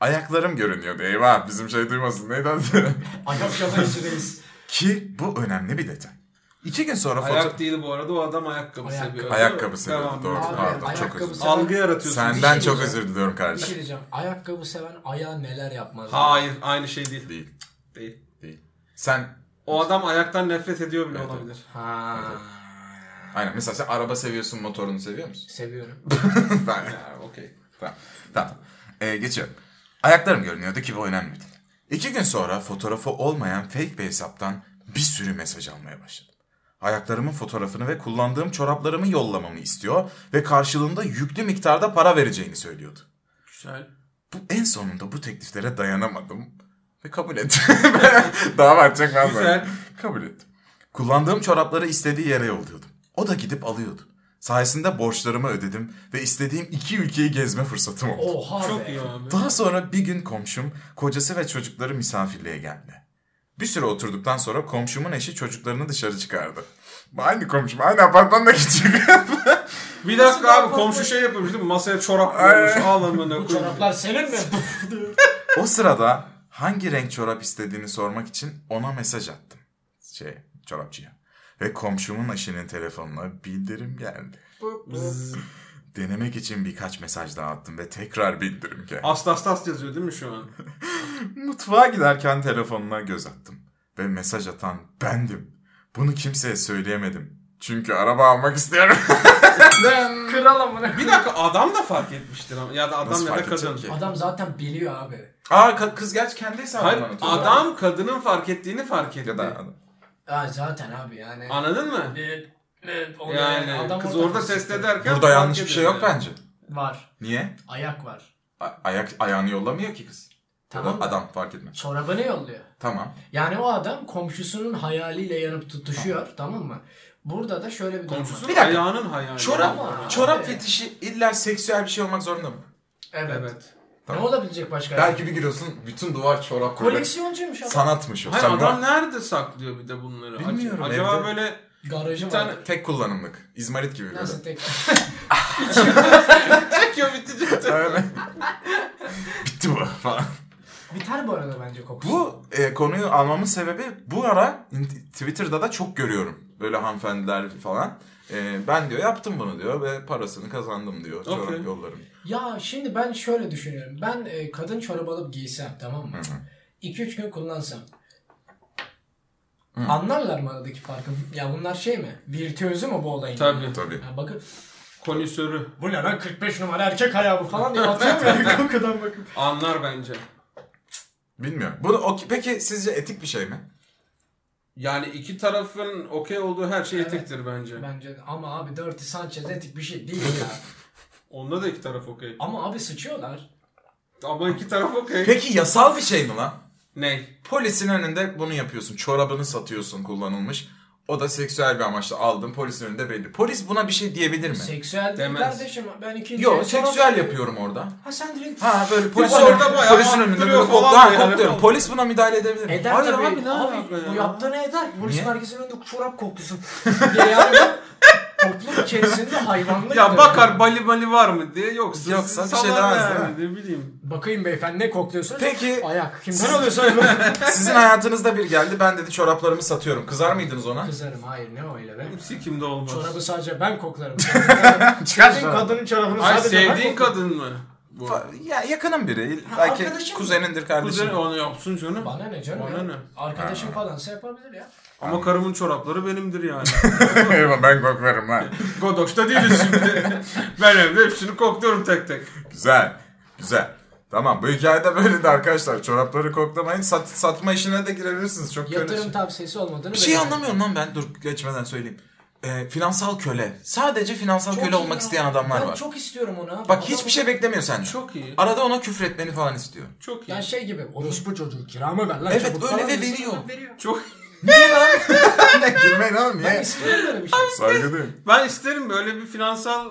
Ayaklarım görünüyordu eyvah bizim şey duymasın neydi adı?
Ayak yaba içindeyiz.
Ki bu önemli bir detay. İki gün sonra foto-
Ayak değil bu arada o adam ayakkabı
Ayakkabı.
seviyor.
Ayakkabı seviyordu,
Devam.
doğru.
Abi
Pardon, çok
ayakkabı
özür
seven...
Algı yaratıyorsun.
Senden
Bir şey
çok
diyeceğim.
özür diliyorum
Bir
kardeşim.
şey diyeceğim. Ayakkabı seven ayağa neler yapmaz.
Hayır aynı şey değil.
Değil.
Değil.
Sen
O adam ayaktan nefret ediyor bile
Evet,
olabilir.
Ha.
aynen mesela sen araba seviyorsun motorunu seviyor musun?
Seviyorum.
ben
Ha, Okey.
Tamam. Tamam. Ee, geçiyorum. Ayaklarım görünüyordu ki bu önemliydi. İki gün sonra fotoğrafı olmayan fake bir hesaptan bir sürü mesaj almaya başladım. Ayaklarımın fotoğrafını ve kullandığım çoraplarımı yollamamı istiyor ve karşılığında yüklü miktarda para vereceğini söylüyordu.
Güzel.
Bu, en sonunda bu tekliflere dayanamadım ve kabul ettim. Daha bakacak ben
Güzel.
böyle. Kabul ettim. Kullandığım çorapları istediği yere yolluyordum. O da gidip alıyordu. Sayesinde borçlarımı ödedim ve istediğim iki ülkeyi gezme fırsatım oldu.
Oha
Çok
be.
iyi abi.
Daha sonra bir gün komşum kocası ve çocukları misafirliğe geldi. Bir süre oturduktan sonra komşumun eşi çocuklarını dışarı çıkardı. Aynı komşum, aynı apartmandaki çıkıyor.
Bir dakika abi
yapalım?
komşu şey yapıyormuş değil mi? Masaya çorap koymuş. Al amına koyayım.
Bu çoraplar senin mi?
o sırada hangi renk çorap istediğini sormak için ona mesaj attım. Şey, çorapçıya. Ve komşumun eşinin telefonuna bildirim geldi. Denemek için birkaç mesaj daha attım ve tekrar bildirim geldi.
Astas tas yazıyor değil mi şu an?
Mutfağa giderken telefonuna göz attım. Ve mesaj atan bendim. Bunu kimseye söyleyemedim. Çünkü araba almak istiyorum.
Kral amına.
Bir dakika adam da fark etmiştir ama. Ya da adam
Nasıl
ya da
fark edecek
kadın.
ki?
Adam zaten biliyor abi.
Aa ka- kız gerçi kendi hesabından
Hayır
atıyor.
adam kadının fark ettiğini fark etti.
Ya da adam.
Ha, zaten abi yani.
Anladın mı?
Evet, evet, o da
Yani
adam
kız orada test
sıkıyor.
ederken
Burada
fark
yanlış bir şey
ediyor
yok
yani.
bence.
Var.
Niye?
Ayak var.
A- ayak ayağını yollamıyor ki kız.
Tamam.
O adam fark etmez.
Çorabını yolluyor.
Tamam.
Yani o adam komşusunun hayaliyle yanıp tutuşuyor tamam mı? Burada da şöyle bir durum var.
Komşusu
Bir dakika.
ayağının hayali.
Ama-
çorap fetişi illa seksüel bir şey olmak zorunda mı?
Evet.
Evet.
Tamam.
Ne olabilecek başka?
Belki bir giriyorsun bütün duvar çorap böyle.
Koleksiyoncuymuş adam.
Sanatmış o.
Hayır
Sen
adam
bak-
nerede saklıyor bir de bunları? Ac-
Bilmiyorum,
Acaba
evde.
böyle
Garajı var.
tane-
tek kullanımlık. İzmarit gibi böyle.
Nasıl tek?
çekiyor bitecek.
Aynen. Bitti bu falan.
Biter bu arada bence kokusu.
Bu e, konuyu almamın sebebi bu ara in- Twitter'da da çok görüyorum. Böyle hanımefendiler falan. E, ben diyor yaptım bunu diyor ve parasını kazandım diyor. Çorap
Okey.
yollarım.
Ya şimdi ben şöyle düşünüyorum. Ben e, kadın çorabı alıp giysem tamam mı? 2-3 gün kullansam. Anlarlar mı aradaki farkı? Ya bunlar şey mi? Virtüözü mü bu olayın?
Tabii.
Tabii.
Ha, bakın
Konüsörü.
bu ne lan 45 numara erkek ayağı bu falan diye atıyor ya kokudan bakıp.
Anlar bence.
Bilmiyorum. Bunu, o, peki sizce etik bir şey mi?
Yani iki tarafın okey olduğu her şey etiktir bence.
Bence de. ama abi Dirty Sanchez etik bir şey değil ya.
Onda da iki taraf okey.
ama abi sıçıyorlar.
Ama iki taraf okey.
Peki yasal bir şey mi lan?
Ney?
Polisin önünde bunu yapıyorsun. Çorabını satıyorsun kullanılmış. O da seksüel bir amaçla aldın. Polisin önünde belli. Polis buna bir şey diyebilir mi?
Seksüel değil
Demez.
kardeşim ben ikinci el
Yok
çorap-
seksüel yapıyorum orada.
Ha sen direkt
Ha böyle polis
orada
orada
bayağı
polisin önünde
arttırıyor
böyle
falan
kokla- ha,
böyle hani.
kokluyorum. Polis buna müdahale edebilir mi?
Eder
Hayır
tabii.
abi ne
abi,
alaka ya?
Bu yaptığını eder. Polisin
Niye?
herkesin önünde çorap koklusun. diye yani toplum içerisinde hayvanlık.
Ya
tabii.
bakar bali bali var mı diye yoksa,
Yoksa bir şey
salar
demez,
yani,
değil
ne bileyim.
Bakayım beyefendi ne kokluyorsun?
Peki
Ayak. Kimden
Siz-
alıyorsun?
sizin hayatınızda bir geldi. Ben dedi çoraplarımı satıyorum. Kızar mıydınız ona?
Kızarım. Hayır ne öyle be.
Sikimde olmaz.
Çorabı sadece ben koklarım. Çıkar kadının çorabını
Ay
sadece ben
sevdiğin
koklarım.
kadın mı? Bu.
Fa- Ya yakının biri.
Ha,
Belki
arkadaşım.
kuzenindir kardeşim.
Kuzen onu yapsın canım.
Bana ne canım
Bana
ya?
ne?
Arkadaşım falansa yapabilir ya.
Ama karımın çorapları benimdir yani.
Eyvah, ben koklarım lan.
Godoş'ta değiliz şimdi. ben evde hepsini kokluyorum tek tek.
Güzel. Güzel. Tamam bu hikayede böyleydi arkadaşlar. Çorapları koklamayın. Sat- satma işine de girebilirsiniz. Çok kötü.
Yatırım tavsiyesi olmadığını
Bir şey
belirttim.
anlamıyorum lan ben. Dur geçmeden söyleyeyim. Ee, finansal köle. Sadece finansal
Çok
köle
iyi
olmak
ya.
isteyen adamlar
ben
var.
çok istiyorum onu abi.
Bak
Adam-
hiçbir şey beklemiyor senden.
Çok iyi.
Arada ona küfür etmeni falan istiyor.
Çok iyi.
Ya şey gibi orospu çocuğu kiramı ver lan
Evet,
çabuk
öyle
falan
de
desin,
veriyor.
adam veriyor.
Çok
Niye lan? ne gülmeyin oğlum
Ben istiyorum böyle bir şey.
Saygı duyuyorum.
Ben isterim böyle bir finansal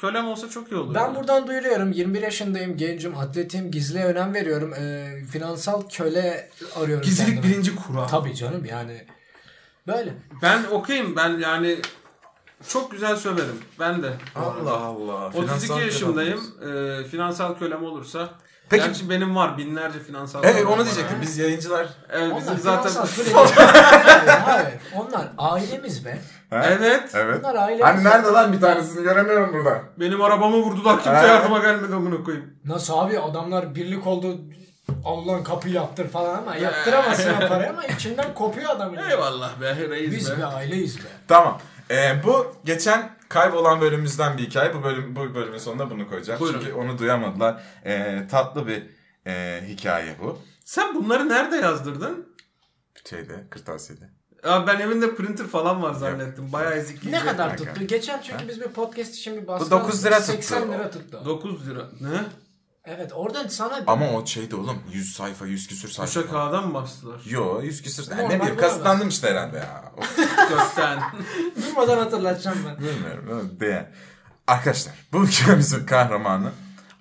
kölem olsa çok iyi olur.
Ben
Yani.
buradan duyuruyorum. 21 yaşındayım, gencim, atletim, gizliye önem veriyorum. Ee, finansal köle arıyorum. kendime.
kural.
Tabii canım yani. Böyle.
Ben okeyim ben yani çok güzel söverim. Ben de.
Allah Allah.
32
Finansal
yaşındayım. Ee, finansal kölem olursa.
Peki-
Gerçi benim var binlerce finansal
Evet
kölem var.
onu diyecektim. Biz yayıncılar.
Evet
Onlar
bizim zaten.
finansal köle. Hayır, hayır. Onlar ailemiz be.
evet.
Evet.
Onlar
Hani
ailemiz.
lan bir tanesini göremiyorum burada.
Benim arabamı vurdular kimse
Evet.
yardıma gelmedi amına koyayım.
Nasıl abi adamlar birlik oldu. Allah'ın kapıyı yaptır falan ama yaptıramazsın o parayı ama içinden kopuyor adamın.
Eyvallah be reis
Biz
be.
bir aileyiz be.
Tamam. Ee, bu geçen kaybolan bölümümüzden bir hikaye. Bu bölüm bu bölümün sonunda bunu koyacağım.
Buyurun.
Çünkü onu duyamadılar. Ee, tatlı bir e, hikaye bu.
Sen bunları nerede yazdırdın?
Şeyde, kırtasiyede.
Aa, ben evinde printer falan var zannettim. Bayağı ezik.
Ne kadar
kanka.
tuttu? Geçen çünkü biz bir podcast için bir baskı
Bu 9 lira tuttu.
80 lira tuttu.
9 lira. Ne?
Evet oradan sana
Ama o şeydi oğlum 100 sayfa 100 küsür sayfa.
Kuşa kağıdan mı bastılar?
Yo 100 küsür. Yani
Normal
ne bileyim
bu arada.
kasıtlandım işte herhalde ya. Of,
Gösten.
durmadan hatırlatacağım ben.
Bilmiyorum öyle diye. Arkadaşlar bu hikayemizin kahramanı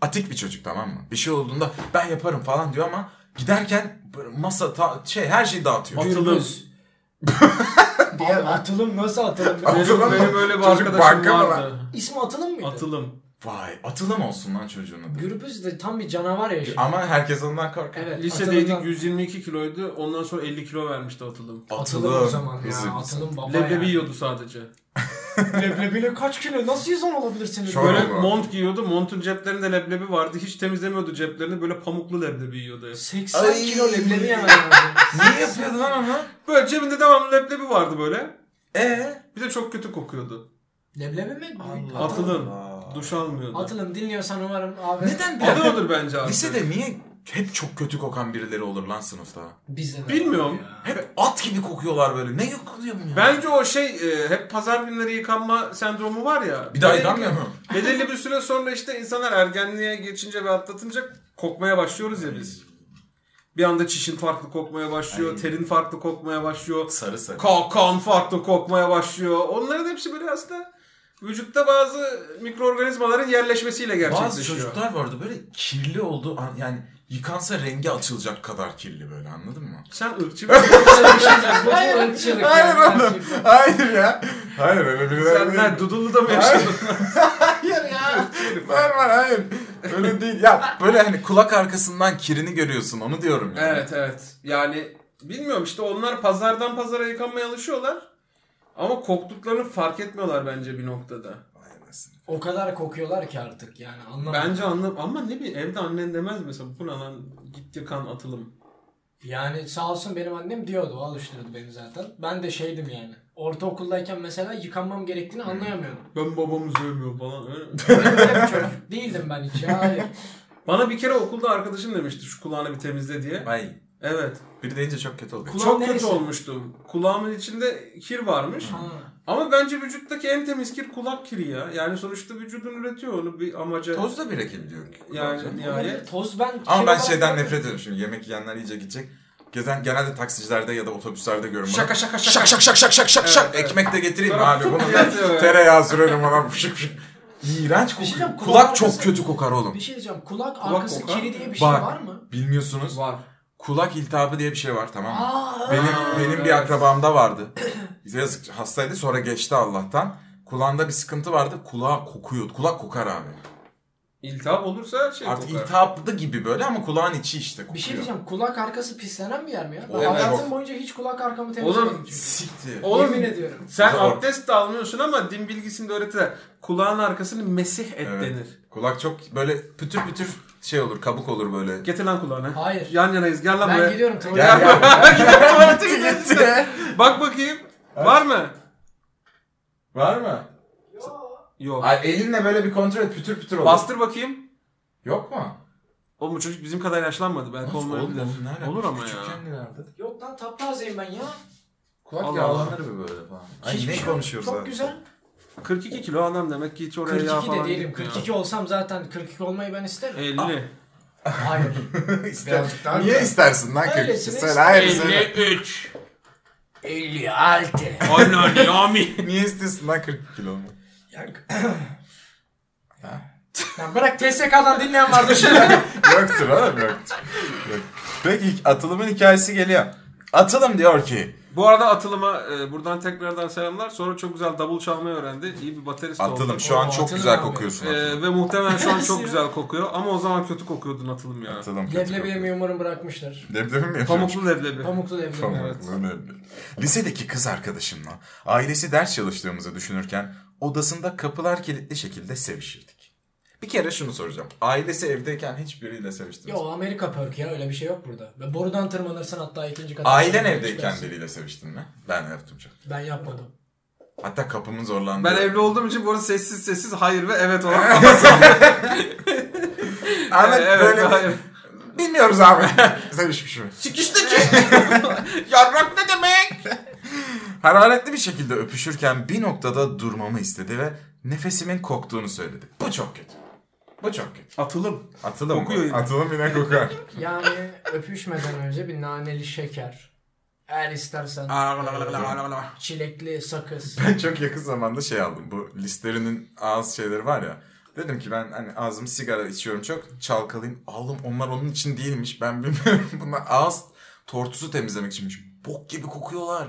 atik bir çocuk tamam mı? Bir şey olduğunda ben yaparım falan diyor ama giderken böyle masa ta- şey her şeyi dağıtıyor.
Atılım.
Gürbüz. Abi atılım nasıl atılım?
Atılım
Benim,
mı?
benim öyle bir
Çocuk banka
arkadaşım
mı
vardı.
İsmi atılım mıydı?
Atılım.
Vay atılım olsun lan çocuğun adı.
Gürbüz de tam bir canavar ya. şimdi.
Ama herkes ondan korkar.
Evet,
Lisedeydik
atılımdan-
122 kiloydu. Ondan sonra 50 kilo vermişti atılım.
Atılım o zaman
bizim-
ya. Atılım baba
Leblebi
ya.
yiyordu sadece.
Leblebiyle kaç kilo? Nasıl 110 olabilirsiniz?
Çok-
Böyle
Böyle
Allah.
mont giyiyordu. Montun ceplerinde leblebi vardı. Hiç temizlemiyordu ceplerini. Böyle pamuklu leblebi yiyordu. hep.
80
Ay.
kilo leblebi yemen lazım.
Niye yapıyordu lan onu?
Böyle cebinde devamlı leblebi vardı böyle.
Ee?
Bir de çok kötü kokuyordu.
Leblebi mi?
Allah.
Atılım.
Allah.
Duş almıyordu.
Atılım dinliyorsan umarım abi.
Neden bir
Adı
dakika?
odur bence abi.
Lisede niye hep çok kötü kokan birileri olur lan sınıfta?
Bizde de.
Bilmiyorum.
Hep at gibi kokuyorlar böyle. Ne kokuyor bu ya?
Bence o şey e, hep pazar günleri yıkanma sendromu var ya.
Bir daha yıkanmıyor mu?
Belirli bir süre sonra işte insanlar ergenliğe geçince ve atlatınca kokmaya başlıyoruz ya biz. Bir anda çişin farklı kokmaya başlıyor, terin farklı kokmaya başlıyor,
Sarı sarı.
kan farklı kokmaya başlıyor. Onların hepsi böyle aslında vücutta bazı mikroorganizmaların yerleşmesiyle
Bazı
gerçekleşiyor.
çocuklar vardı böyle kirli olduğu an yani yıkansa rengi açılacak kadar kirli böyle anladın mı?
Sen ırkçı bir
şey Hayır. Hayır.
Hayır oğlum. Hayır ya. Hayır öyle birileri
Sen ne, Dudullu'da mı yaşadın?
Hayır ya. Var var hayır. Öyle değil. Ya böyle hani kulak arkasından kirini görüyorsun onu diyorum yani.
Evet evet. Yani bilmiyorum işte onlar pazardan pazara yıkanmaya alışıyorlar. Ama koktuklarını fark etmiyorlar bence bir noktada.
Vay anasını.
O kadar kokuyorlar ki artık yani anlamadım.
Bence anlam ama ne bir evde annen demez mi mesela bu ne lan git yıkan atılım.
Yani sağ olsun benim annem diyordu, o alıştırdı beni zaten. Ben de şeydim yani. Ortaokuldayken mesela yıkanmam gerektiğini
Hmm.
anlayamıyordum.
Ben babamı sevmiyorum falan. öyle mi?
Benim öyle bir çocuk değildim ben hiç ya. Hayır.
Bana bir kere okulda arkadaşım demişti şu kulağını bir temizle diye.
Ay
Evet.
biri deyince çok kötü oluyor.
Kulağın
Çok
neresi?
kötü olmuştum. Kulağımın içinde kir varmış.
Ha.
Ama bence vücuttaki en temiz kir kulak kiri ya. Yani sonuçta vücudun üretiyor onu bir amaca.
Toz da birikiyor.
yani nihayet.
Toz ben...
Ama
şey
ben
olarak-
şeyden nefret ediyorum şimdi yemek yiyenler iyice gidecek. Gezen, genelde taksilerde ya da otobüslerde görüyorum.
Şaka
bunu.
şaka
Şak
şaka.
şak şak şak şak şak
Evet,
şak.
evet.
Ekmek de getireyim mi
Sonra
abi.
fıt
Bunu
diye atıyor
da
böyle.
tereyağı sürerim ona fışık fışık. İğrenç
Bir
kokuyor.
şey diyeceğim, kulak
Kulak çok
arkası-
kötü kokar oğlum.
Bir şey diyeceğim. Kulak,
Kulak
arkası
kokar.
kiri diye bir şey
Bak.
var mı?
Bilmiyorsunuz.
Var.
Kulak iltihabı diye bir şey var tamam mı?
Aa,
Benim benim bir
evet.
akrabamda vardı. Yazık hastaydı sonra geçti Allah'tan. Kulağında bir sıkıntı vardı. Kulağa kokuyordu. Kulak kokar abi.
İltihap olursa şey
Artık
kokar.
iltihaplı gibi böyle ama kulağın içi işte kokuyor.
Bir şey diyeceğim. Kulak arkası pislenen bir yer mi ya? Ben
Oğlum,
hayatım
çok.
boyunca hiç kulak arkamı temizlemedim. çünkü.
Siktir.
Oğlum
Yemin ediyorum.
sen
Zor.
abdest de almıyorsun ama din bilgisini de öğretiler. Kulağın arkasını mesih et
Evet.
denir.
Kulak çok böyle pütür pütür şey olur, kabuk olur böyle.
Getir lan kulağını.
Hayır.
Yan yanayız gel lan
Ben
buraya.
gidiyorum tuvalete.
Gel gel.
Gel tuvalete mi geçtin? Bak bakayım. Var mı?
Var mı?
Yok.
Ay, elinle böyle bir kontrol et, pütür pütür olur.
Bastır bakayım.
Yok mu?
Oğlum bu çocuk bizim kadar yaşlanmadı. Belki olmayabilir.
Oğlum, ne alaka?
Olur ama ya.
Küçükken nelerdi?
Yok lan taptazeyim ben ya.
Kulak
Allah
yağlanır mı böyle falan? Ay
Hiçbir
ne
şey-
konuşuyoruz
Çok
abi?
güzel.
42 kilo adam demek ki hiç oraya yağ
42 de
falan
değilim.
gitmiyor.
42 olsam zaten 42 olmayı ben isterim.
50.
Hayır. Birazcık daha
Niye istersin lan
Öylesine
kötü? Söyle
istedim.
hayır söyle.
53.
56.
Aynen yami.
Niye istiyorsun lan 40 kilo mu?
Ya- Ya bırak TSK'dan dinleyen vardır şimdi.
Yoktur oğlum yoktur. Yok. Peki atılımın hikayesi geliyor. Atılım diyor ki.
Bu arada Atılım'a e, buradan tekrardan selamlar. Sonra çok güzel davul çalmayı öğrendi. İyi bir baterist oldu.
Atılım şu an
Oo,
çok
atılım
güzel
abi.
kokuyorsun. Atılım.
Ee, ve muhtemelen şu an çok güzel kokuyor ama o zaman kötü kokuyordun atılım ya.
Atılım kötü
Leblebiye
kokuyor.
mi umarım bırakmışlar.
Leblebi mi yapıyorsun?
Pamuklu leblebi.
Pamuklu leblebi.
Pamuklu leblebi. Lisedeki kız arkadaşımla ailesi ders çalıştığımızı düşünürken odasında kapılar kilitli şekilde sevişirdik. Bir kere şunu soracağım. Ailesi evdeyken hiçbiriyle seviştiniz
Yo
mi?
Amerika perk ya öyle bir şey yok burada. Ve borudan tırmanırsın hatta ikinci kata.
Ailen
çıkarsın.
evdeyken biriyle seviştin mi? Ben yaptım çok.
Ben yapmadım.
Hatta kapımın zorlandı.
Ben evli olduğum için bu arada sessiz sessiz hayır ve evet olarak evet,
Ahmet
evet,
böyle
hayır.
bilmiyoruz abi. Sevişmiş mi?
Sikişteki. Yarrak ne demek?
Hararetli bir şekilde öpüşürken bir noktada durmamı istedi ve nefesimin koktuğunu söyledi. Bu çok kötü. Bu çok kötü.
Atılım.
Atılım mı?
Kokuyor yine.
Atılım yine kokar.
Yani öpüşmeden önce bir naneli şeker. Eğer istersen e, çilekli sakız.
Ben çok yakın zamanda şey aldım. Bu listerinin ağız şeyleri var ya. Dedim ki ben hani ağzımı sigara içiyorum çok çalkalayayım. Oğlum onlar onun için değilmiş. Ben bilmiyorum. Bunlar ağız tortusu temizlemek içinmiş. Bok gibi kokuyorlar.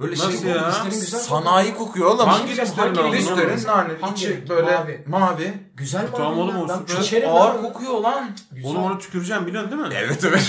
Böyle
Nasıl
şey
ya?
Listerin güzel
Sanayi kokuyor oğlum.
Hangi listerin aldın
Listerin
oğlum?
nane
Hangi
içi
renk?
böyle mavi.
Mavi. Güzel mi?
Tamam
abi
oğlum
ya?
o
Ben
süper.
içerim
Ağır
abi.
kokuyor lan.
Güzel.
Oğlum onu tüküreceğim biliyorsun değil mi?
Evet evet.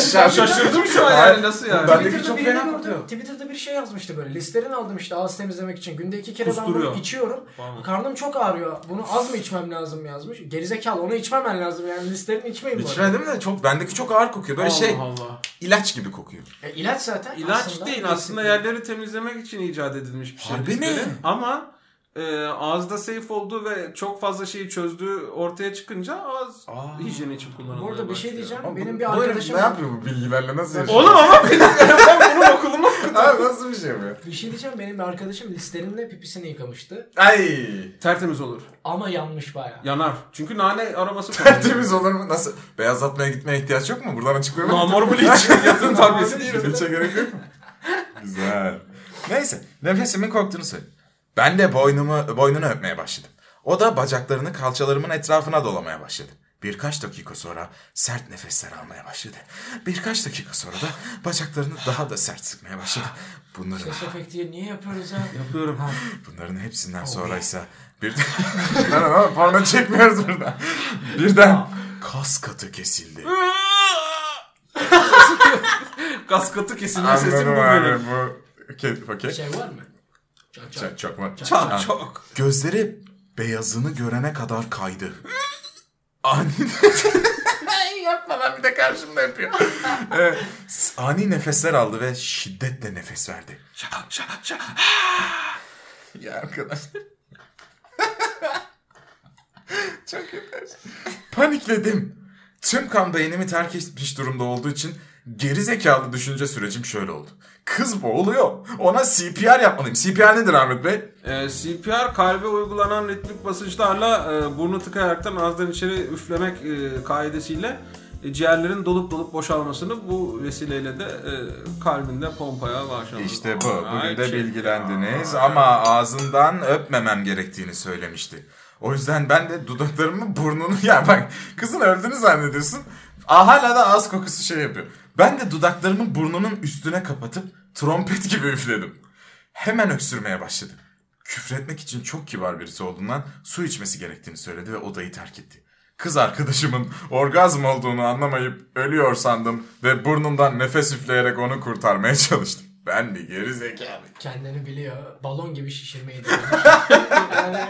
Şaşırdım şu an yani nasıl yani?
Ben de-
Twitter'da
çok
birini
fena
gördüm.
kokuyor.
Twitter'da bir şey yazmıştı böyle. Listerin aldım işte ağız temizlemek için. Günde iki kere ben
Kusturuyor.
bunu içiyorum.
Tamam.
Karnım çok ağrıyor. Bunu az mı içmem lazım yazmış. Gerizekalı onu içmemen lazım yani. Listerin içmeyin bu arada.
İçmedim de çok bendeki çok ağır kokuyor. Böyle
Allah
şey
Allah.
ilaç gibi kokuyor.
E, ilaç zaten.
İlaç
aslında.
değil aslında yerleri temizlemek için icat edilmiş bir şey.
Harbi mi?
Listerin. Ama e, ağızda safe olduğu ve çok fazla şeyi çözdüğü ortaya çıkınca ağız
Aa.
hijyeni için kullanılmaya
Burada bir şey
başlıyor.
diyeceğim.
Ama
Benim
bu- şey bu
bir
herif
arkadaşım...
Ne yapıyor bu bilgilerle nasıl yaşıyor?
Oğlum ama ben bunu okuluma okudum.
Abi nasıl bir şey bu?
Bir şey diyeceğim. Benim bir arkadaşım listerinle pipisini yıkamıştı.
Ay.
Tertemiz olur.
Ama yanmış bayağı.
Yanar. Çünkü nane aroması
Tertemiz olur mu? Nasıl? Beyazlatmaya gitmeye ihtiyaç yok mu? Buradan açıklayalım.
Namor bleach. Yatırım terbiyesi değil.
Filtre şey gerek yok mu? Güzel. Neyse. Nefesimin koktuğunu söyle. Ben de boynumu, boynunu öpmeye başladım. O da bacaklarını kalçalarımın etrafına dolamaya başladı. Birkaç dakika sonra sert nefesler almaya başladı. Birkaç dakika sonra da bacaklarını daha da sert sıkmaya başladı. Bunların,
Ses efekti niye yapıyoruz ha?
Yapıyorum.
bunların
Oh,
hepsinden sonra ise bir... Lan ama porno çekmiyoruz burada. Birden kas katı kesildi.
Kaskatı kesilme sesim bu
Anladım
böyle.
abi bu. Okey, okey.
Şey var mı? Çak
Çok,
çak.
çok var. Ha.
Şey- Çok çok.
Gözleri beyazını görene kadar kaydı. Ani... Yapma lan bir de karşımda yapıyor. Evet. Ee, Ani nefesler aldı ve şiddetle nefes verdi.
Şa, şa, şa.
Ya arkadaşlar. Çok yeter. Panikledim. Tüm kan beynimi terk etmiş durumda olduğu için geri zekalı düşünce sürecim şöyle oldu. Kız boğuluyor. Ona CPR yapmalıyım. CPR nedir Ahmet Bey?
Ee, CPR kalbe uygulanan ritmik basınçlarla e, burnu tıkayaraktan ağızdan içeri üflemek e, kaidesiyle e, ciğerlerin dolup dolup boşalmasını bu vesileyle de e, kalbinde pompaya başlamak.
İşte bu. Bugün de
Ay,
bilgilendiniz ama ağzından öpmemem gerektiğini söylemişti. O yüzden ben de dudaklarımı burnunu ya bak kızın öldüğünü zannediyorsun. Aa, hala da ağız kokusu şey yapıyor. Ben de dudaklarımı burnunun üstüne kapatıp trompet gibi üfledim. Hemen öksürmeye başladı. Küfretmek için çok kibar birisi olduğundan su içmesi gerektiğini söyledi ve odayı terk etti. Kız arkadaşımın orgazm olduğunu anlamayıp ölüyor sandım ve burnumdan nefes üfleyerek onu kurtarmaya çalıştım. Ben bir geri zekalı.
Kendini biliyor. Balon gibi şişirmeyi de. yani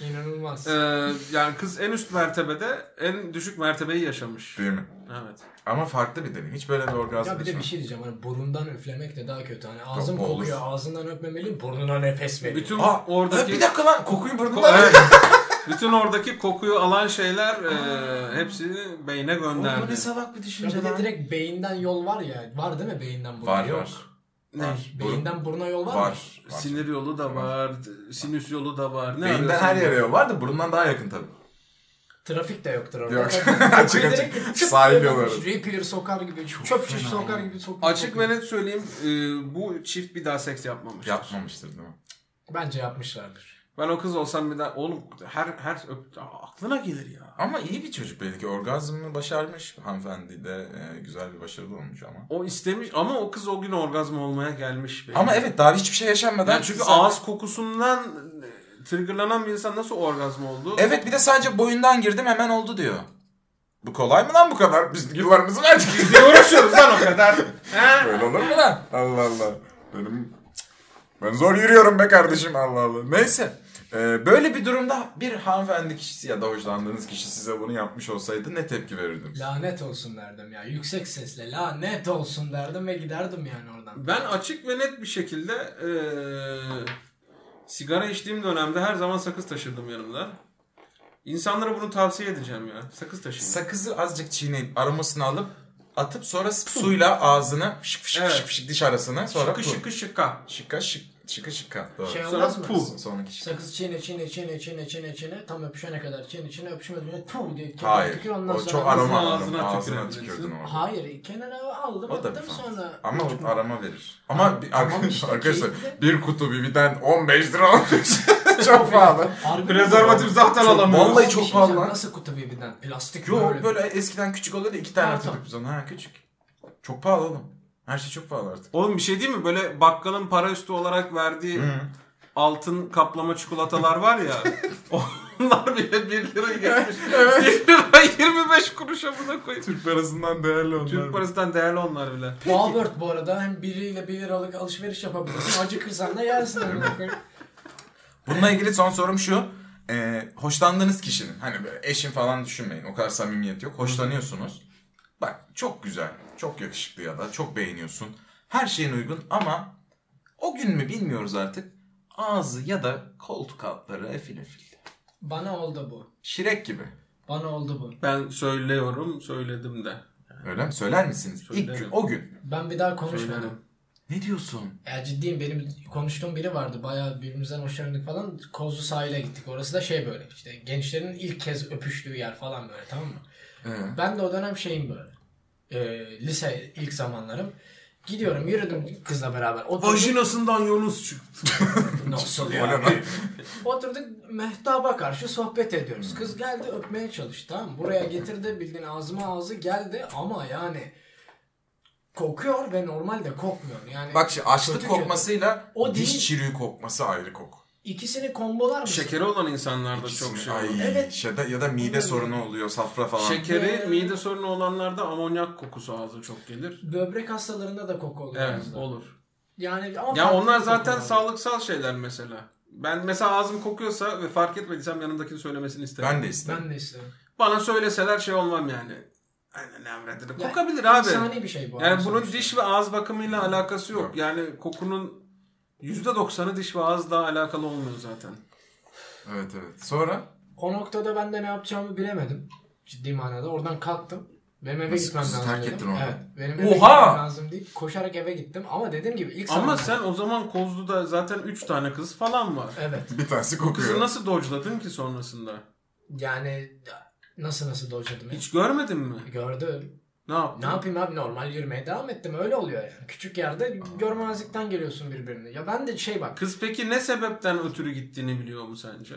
inanılmaz.
e, yani kız en üst mertebede en düşük mertebeyi yaşamış.
Değil mi?
Evet.
Ama farklı bir deneyim. Hiç böyle bir orgazm
Ya bir de bir
yaşamadım.
şey diyeceğim hani burundan öflemek de daha kötü. Hani ağzım
Yok, olur.
kokuyor, ağzından öpmemeliyim, burnuna nefes vereyim.
Bütün
Aa,
oradaki
bir dakika lan kokuyu
Ko-
burnumdan
evet. Bütün oradaki kokuyu alan şeyler e, hepsini beyne
Oğlum, bu
gönderdi.
ne salak bir
Ya
düşünce
bir de
lan.
direkt beyinden yol var ya. Var değil mi beyinden buruna?
Var
Yok.
var.
Ne?
Beyinden buruna yol var, mı?
Var. var.
Sinir yolu da var, sinüs yolu da var. Ne
Beyinden
arıyorsun?
her yere yol var da burundan daha yakın tabii.
Trafik de yoktur orada.
Yok.
Direkt-
Açık
direkt
açık.
çıt
Sahil
diye
yolları.
bakmış, Rapier sokar gibi, çöp şiş sokar gibi sokuyor.
Açık ve net söyleyeyim e, bu çift bir daha seks yapmamış.
şey.
Yapmamıştır değil mi?
Bence yapmışlardır.
Ben o kız olsam bir daha oğlum her her öp- Aa, aklına gelir ya.
Ama iyi bir çocuk belli ki. Orgazmını başarmış. Hanımefendi de e, güzel bir başarılı olmuş ama.
O istemiş ama o kız o gün orgazm olmaya gelmiş. be.
Ama evet daha hiçbir şey yaşanmadan.
Yani çünkü
sen-
ağız kokusundan e, triggerlanan bir insan nasıl orgazm oldu?
Evet bir de sadece boyundan girdim hemen oldu diyor. Bu kolay mı lan bu kadar? Biz yıllarımızı verdik.
Biz de uğraşıyoruz lan o kadar. Ha?
Böyle olur mu lan? Allah Allah. Benim... Ben zor yürüyorum be kardeşim Allah Allah. Neyse. Ee, böyle bir durumda bir hanımefendi kişisi ya da hoşlandığınız kişi size bunu yapmış olsaydı ne tepki verirdiniz?
Lanet olsun derdim ya. Yüksek sesle lanet olsun derdim ve giderdim yani oradan.
Ben açık ve net bir şekilde eee, sigara içtiğim dönemde her zaman sakız taşırdım yanımda. İnsanlara bunu tavsiye edeceğim ya. Sakız taşıyın.
Sakızı azıcık çiğneyip aromasını alıp atıp sonra suyla ağzını fışık fışık
Evet.
fışık fışık diş arasına sonra
şıkı
pum.
şıkı şıka.
Şıka şık. Şıkı şıkı. Doğru.
Şey
Sonra
olmaz mı?
puh.
Sonraki şıkı.
Sakız çiğne çine çine çine çine çine tam öpüşene kadar çine çine öpüşmeden önce puh diye kenara
Hayır.
tükür ondan
O
sonra.
çok aroma
Ağzına
ağzına, ağzına
tükürebilirsin.
tükürdün orada.
Hayır kenara aldım
O da bir fan.
attım sonra.
Ama o arama verir. Ama bir,
tamam işte,
arkadaşlar
keyifli.
bir kutu Vivi'den 15 lira olmuş. çok pahalı.
Harbi mi?
Prezervatif zaten
Çok-
alamıyoruz.
vallahi
Bir
çok
şey
pahalı
diyeceğim,
lan.
Nasıl kutu birbirinden? Plastik mi
Yok böyle eskiden küçük oluyordu iki tane
Karton.
atıyorduk biz ona. Ha küçük. Çok pahalı oğlum. Her şey çok pahalı artık.
Oğlum bir şey değil mi? Böyle bakkalın para üstü olarak verdiği altın kaplama çikolatalar var ya. onlar bile 1 lira gelmiş. 1 lira 25 kuruşa buna koyup.
Türk parasından değerli onlar.
Türk parasından değerli onlar bile.
Walmart bu arada hem 1 ile 1 liralık alışveriş yapabilirsin. Acıkırsan da yersin. amına koyayım.
Bununla ilgili son sorum şu. Ee, hoşlandığınız kişinin hani böyle eşin falan düşünmeyin. O kadar samimiyet yok. Hoşlanıyorsunuz. Bak çok güzel, çok yakışıklı ya da çok beğeniyorsun. Her şeyin uygun ama o gün mü bilmiyoruz artık. Ağzı ya da koltuk altları efil efil.
Bana oldu bu.
Şirek gibi.
Bana oldu bu.
Ben söylüyorum, söyledim de.
Öyle mi? Söyler misiniz? İlk
Söylerim.
gün, o gün.
Ben bir daha konuşmadım.
Söylerim.
Ne diyorsun?
Ya ciddiyim benim konuştuğum biri vardı. Bayağı birbirimizden hoşlandık falan. Kozlu sahile gittik. Orası da şey böyle işte gençlerin ilk kez öpüştüğü yer falan böyle tamam mı?
Ee,
Ben de o dönem şeyim böyle. Ee, lise ilk zamanlarım. Gidiyorum yürüdüm kızla beraber. Oturduk.
Vajinasından Yunus çıktı.
Nasıl
o ne
ya?
lan?
Oturduk mehtaba karşı sohbet ediyoruz. Kız geldi öpmeye çalıştı. Tamam. mı? Buraya getirdi bildiğin ağzıma ağzı geldi ama yani kokuyor ve normalde kokmuyor. Yani
Bak şimdi açlık
Kötü
kokmasıyla
O değil.
diş çürüğü kokması ayrı koku.
ikisini kombolar mısın?
Şekeri olan insanlarda çok
İkisini-
şey
Ay,
var.
Evet.
ya da, ya da mide sorunu oluyor safra falan.
Şekeri,
Ee,
mide sorunu olanlarda amonyak kokusu ağza çok gelir.
Böbrek hastalarında da koku oluyor.
Evet,
aslında.
olur.
Yani ama
Ya
farklı
onlar
bir
zaten
koku var.
sağlıksal şeyler mesela. Ben mesela ağzım kokuyorsa ve fark etmediysem yanımdakini söylemesini isterim.
Ben de isterim.
Ben de isterim.
Bana söyleseler şey olmam yani. Aynen emredin.
Ya,
Kokabilir abi.
İnsani bir şey bu.
Yani
ama
bunun
sonuçta.
diş ve ağız bakımıyla alakası yok. Yani kokunun %90'ı diş ve ağızla alakalı olmuyor zaten.
Evet evet. Sonra?
O noktada ben de ne yapacağımı bilemedim. Ciddi manada. Oradan kalktım. Benim eve
Nasıl
gitmem
kızı
lazım
terk
dedim.
ettin orada?
Evet. Benim eve
Oha!
gitmem lazım deyip koşarak eve gittim. Ama dediğim gibi ilk
Ama
zamanlar-
sen o zaman Kozlu'da zaten 3 tane kız falan var.
Evet.
Bir tanesi
Kızı nasıl dodge'ladın ki sonrasında?
Yani nasıl nasıl dojladım ya.
Hiç görmedin mi?
Gördüm.
Ne yaptın?
Ne yapayım abi normal yürümeye devam ettim. Öyle oluyor yani. Küçük yerde görmezlikten geliyorsun birbirini. Ya ben de şey bak
Kız peki ne sebepten ötürü gittiğini biliyor mu sence?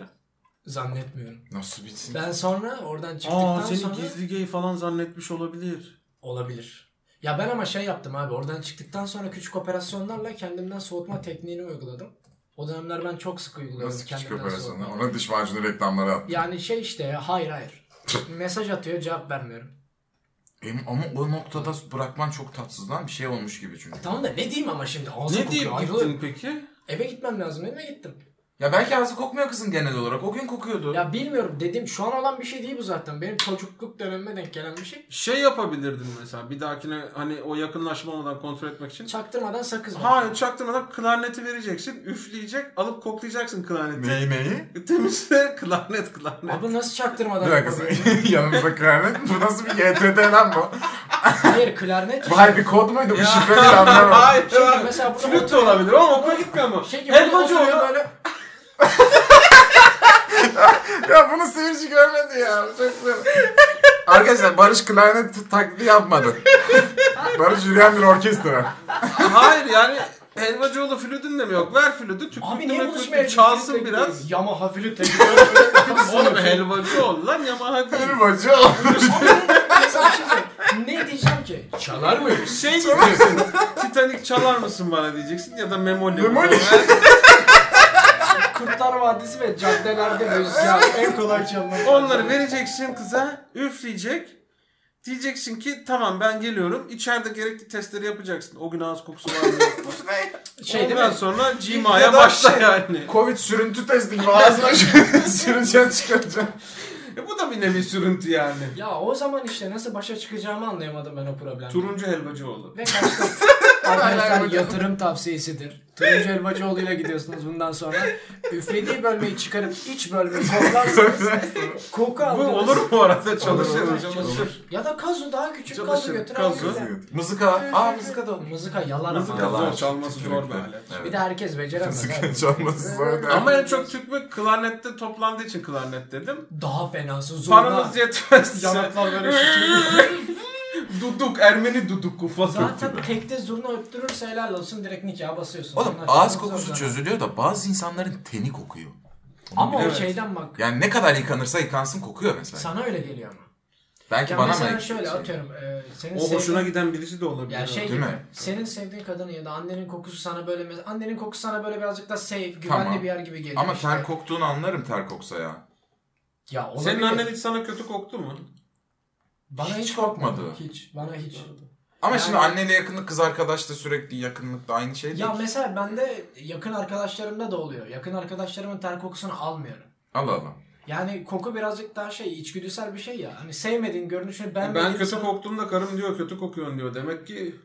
zannetmiyorum.
Nasıl bitsin?
Ben sonra oradan çıktıktan
Aa seni
sonra
gizli gay falan zannetmiş olabilir.
olabilir. Ya ben ama şey yaptım abi oradan çıktıktan sonra küçük operasyonlarla kendimden soğutma tekniğini uyguladım. O dönemler ben çok sık uyguluyorum
Nasıl küçük
kendimden
operasyonlar?
soğutma.
Ona diş macunu reklamları at.
Yani şey işte ya, hayır hayır. Mesaj atıyor cevap vermiyorum.
Benim- ama o noktada bırakman çok tatsız lan. Bir şey olmuş gibi çünkü.
Tamam da ne diyeyim ama şimdi ağzım
ne
kokuyor
deyip
ayrılırım.
gittin peki?
Eve gitmem lazım eve gittim.
Ya belki ağzı kokmuyor kızın genel olarak. O gün kokuyordu.
Ya bilmiyorum dediğim şu an olan bir şey değil bu zaten. Benim çocukluk dönemime denk gelen bir şey.
Şey yapabilirdin mesela bir dahakine hani o yakınlaşma olmadan kontrol etmek için.
Çaktırmadan sakız var.
Hayır çaktırmadan klarneti vereceksin. Üfleyecek alıp koklayacaksın klarneti.
Neyi neyi?
Temizle klarnet klarnet.
Abi nasıl çaktırmadan?
Bir dakika sen- yanımızda klarnet. Bu nasıl bir YTD lan bu?
Hayır klarnet.
Bu harbi kod muydu? Bu şifre değil anlamadım.
Hayır.
Şimdi
abi.
şey mesela burada
Flüt de olabilir ama okula gitmiyor ama.
Şey gibi
Helvacı
oturuyor
oluyor.
böyle.
ya bunu seyirci görmedi ya. Çok güzel. Arkadaşlar Barış klarnet taklidi yapmadı. Barış yürüyen bir orkestra.
Hayır yani Helvacıoğlu flütün de mi yok? Ver flütü tüp
Abi
tüp
niye
tüp
buluşmaya
tüp çalsın biraz.
Yamaha flütle gidiyorum.
Oğlum Helvacıoğlu lan Yamaha değil.
Benim bacı
Mesela bir şey söyleyeyim. Ne diyeceğim ki? Çalar mı?
Şey diyeceksin. Titanic çalar mısın bana diyeceksin ya da Memoli.
Memoli.
Kurtlar Vadisi ve caddelerde rüzgar en kolay çalınan.
Onları vereceksin kıza, üfleyecek. Diyeceksin ki tamam ben geliyorum. İçeride gerekli testleri yapacaksın. O gün ağız kokusu var mı? yok mu?
Şey değil
Ondan
mi?
sonra
Ya
cimaya
da
başla
şey-
yani.
Covid sürüntü testi gibi ağzına süreceğim çıkaracağım.
E bu da bir nevi sürüntü yani.
Ya o zaman işte nasıl başa çıkacağımı anlayamadım ben o problemle.
Turuncu helvacıoğlu.
Ve kaçtım. Arkadaşlar yatırım tavsiyesidir. Turuncu Elmacıoğlu ile gidiyorsunuz bundan sonra. Üflediği bölmeyi çıkarıp iç bölmeyi koklarsanız koku
Bu
aldınız.
olur mu arada çalışır
olur.
çalışır.
Ya da kazu daha küçük kazu
Çalışır,
götür.
kazu.
al götür.
Mızıka. Aa mızıka da
Mızıka yalan
Mızıka
ama.
zor, çalması zor bir alet.
Bir de herkes beceremez.
Mızıka
abi.
çalması zor.
Ama en çok tükme klarnette toplandığı için klarnet dedim.
Daha fenası zurna.
Paramız yetmezse
Yanaklar böyle şişiyor.
duduk, Ermeni duduku falan.
Zaten tekte zurna öttürürse helal olsun direkt nikaha basıyorsun.
Oğlum
Zurna
ağız
çalmak
kokusu
zor.
çözülüyor da bazı insanların teni kokuyor.
Ama
Evet.
o şeyden bak.
Yani ne kadar yıkanırsa yıkansın kokuyor mesela.
Sana öyle geliyor ama.
Belki
Ya
bana
mesela
mı? şey?
şöyle atıyorum. e, senin
O hoşuna
sevdiğin-
giden birisi de olabilir.
Ya şey
Değil
gibi.
mi?
Senin sevdiğin kadının ya da annenin kokusu sana böyle mes- annenin kokusu sana böyle birazcık da safe, güvenli
Tamam.
bir yer gibi geliyor.
Ama
işte.
ter koktuğunu anlarım ter koksa ya.
Ya olabilir.
Senin annen hiç sana kötü koktu mu?
bana hiç
kokmadı.
kokmadı. Hiç. Bana hiç.
Ama
Yani-
şimdi anneyle yakınlık kız arkadaş da sürekli yakınlık da aynı şey değil.
Ya mesela bende yakın arkadaşlarımda da oluyor. Yakın arkadaşlarımın ter kokusunu almıyorum.
Allah Allah.
Yani koku birazcık daha şey içgüdüsel bir şey ya. Hani sevmediğin görünüşünü
Ben,
ben
kötü koktuğumda karım diyor kötü kokuyorsun diyor. Demek ki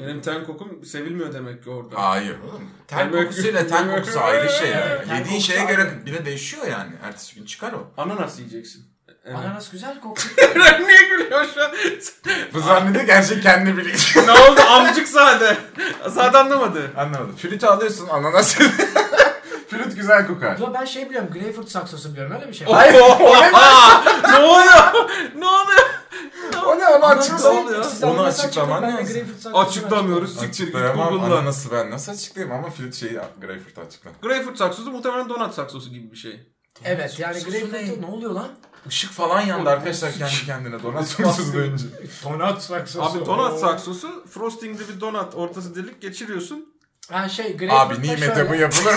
benim ten kokum sevilmiyor demek ki orada.
Hayır oğlum. Ter
Ben böyle-
kokusuyla ten kokusu ayrı şey
Ter
yani. Yediğin
kokusu
şeye
ayrı.
göre bile değişiyor yani. Ertesi gün çıkar o.
Ananas yiyeceksin. Evet.
Ananas güzel kokuyor.
Niye gülüyor şu an?
Bu zannediyor ki her şey kendi biliyor.
ne oldu amcık sade. Sade anlamadı.
Anlamadım. Flütü alıyorsun ananas. Flüt güzel kokar.
Ya ben şey biliyorum. Greyfurt saksosu biliyorum. Öyle bir şey.
Hayır. ne oluyor? Ne oluyor?
O ne ama
Ananas
açıkla.
değil, siz
Onu
ananas
açıklaman
açıklayın, ben de
lazım.
Greyfurt saksosunu
Açıklamıyoruz. Siktir git
Açıklayamam
Google'la.
ananası ben nasıl açıklayayım ama flüt şeyi Greyfurt açıkla.
Greyfurt saksosu muhtemelen donat saksosu gibi bir şey.
açıklayın. Evet yani
Sosu
Greyfurt'u
ne?
ne oluyor lan?
Işık falan yandı arkadaşlar kendi kendine donat sorunsuz önce.
Donat saksosu.
Abi donat saksosu frostingli bir donat ortası delik geçiriyorsun.
Ha şey Greyfurt'ta
Abi
şöyle.
nimete bu yapılır.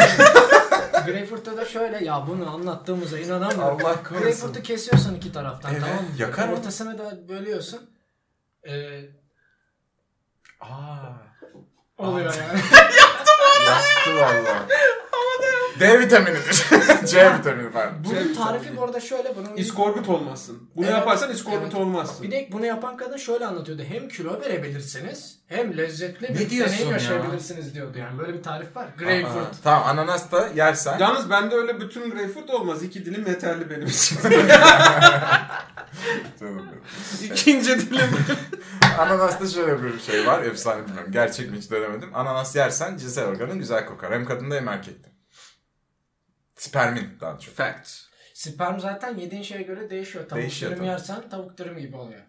Greyfurt'ta da şöyle ya bunu anlattığımıza inanamıyorum.
Allah korusun.
Greyfurt'u kesiyorsun iki taraftan
Evet,
tamam mı?
yakar mı?
Ortasını da bölüyorsun. Ee,
Aa.
oluyor yani.
Yaktı valla. D vitaminidir. C vitamini pardon.
Bunun
Şey,
tarifi
tabii.
bu arada şöyle. Bunun
İskorbut olmazsın. Bunu
Evet.
yaparsan iskorbut
Evet.
olmazsın.
Bir de bunu yapan kadın şöyle anlatıyordu. Hem kilo verebilirsiniz hem lezzetli bir
diyorsun
deneyim
ya?
yaşayabilirsiniz diyordu. Yani böyle bir tarif var. Greyfurt.
Aa, Tamam ananas da yersen.
Yalnız bende öyle bütün greyfurt olmaz. İki dilim yeterli benim için.
Canım benim.
İkinci dilim.
Ananasta şöyle bir şey var. Efsane bilmiyorum. Gerçek mi hiç denemedim. Ananas yersen cinsel organın güzel kokar. Hem kadında hem erkekte. Spermin daha çok.
Fact.
Sperm zaten yediğin şeye göre değişiyor. Tavuk
Değişiyor
dürüm
tabii.
yersen tavuk dürüm gibi oluyor.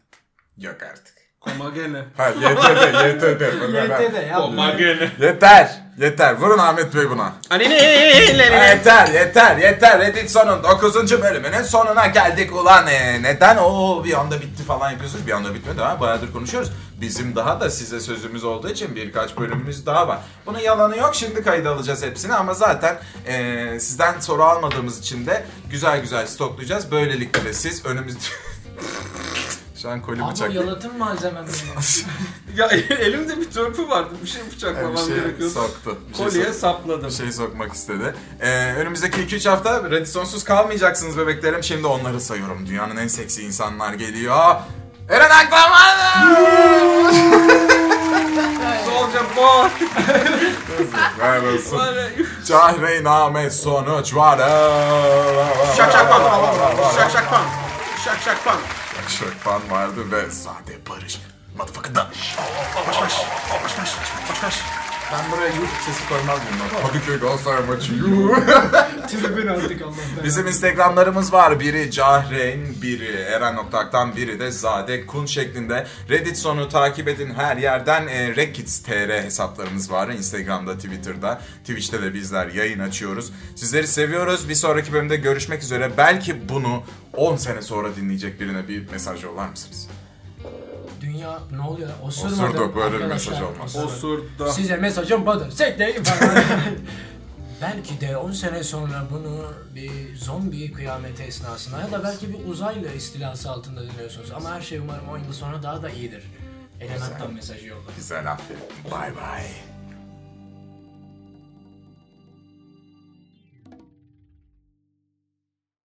Yok artık.
Komagene.
Ha YTD, YTD. Bunu ben-
YT'de ya.
Komagene.
Yeter, yeter. Vurun Ahmet Bey buna. Ha,
Annelerine.
yeter, yeter, yeter. Reddit sonun 9. bölümünün sonuna geldik. Ulan e, neden o bir anda bitti falan yapıyorsunuz? Bir anda bitmedi ha. Bayağıdır konuşuyoruz. Bizim daha da size sözümüz olduğu için birkaç bölümümüz daha var. Bunun yalanı yok. Şimdi kayda alacağız hepsini ama zaten e, sizden soru almadığımız için de güzel güzel stoklayacağız. Böylelikle de siz önümüzde... Şu an koli
Ama
bıçak.
yalıtım malzemem benim.
Ya elimde bir törpü vardı. Bir şey bıçaklamam
Bir şey
gerekiyordu.
soktu. Bir şey
Kolye
soktu.
sapladım.
bir şey sokmak istedi. Ee, önümüzdeki 2-3 hafta Radisson'suz kalmayacaksınız bebeklerim. Şimdi onları sayıyorum. Dünyanın en seksi insanlar geliyor. Eren Aklaman!
Soldier boy.
Ver olsun.
Böyle-
Cahreyname sonuç var.
Şak şak pan. Şak şak pan. Şak şak pan.
Şakşakpan vardı ve sade barış. Motherfucker danış.
Baş baş. Baş baş. Baş baş.
Ben buraya YouTube sesi koymaz bunlar. Kadıköy Galatasaray maçı. yuh.
Tribün artık Allah'tan.
Bizim Instagramlarımız var. Biri Cahren, biri Eren Noktak'tan, biri de Zade Kun şeklinde. Reddit sonu takip edin her yerden. E, Rekids TR hesaplarımız var. Instagram'da, Twitter'da, Twitch'te de bizler yayın açıyoruz. Sizleri seviyoruz. Bir sonraki bölümde görüşmek üzere. Belki bunu 10 sene sonra dinleyecek birine bir mesaj yollar mısınız?
Dünya ne oluyor? Osurmadı.
Osurdu, böyle bir
arkadaşlar.
mesaj olmaz.
Osurda.
Size mesajım budur. Sekleyin falan. belki de 10 sene sonra bunu bir zombi kıyameti esnasında ya da belki bir uzaylı istilası altında dinliyorsunuz. Ama her şey umarım 10 yıl sonra daha da iyidir. Elementan mesajı yollar.
Güzel aferin. Bye bye.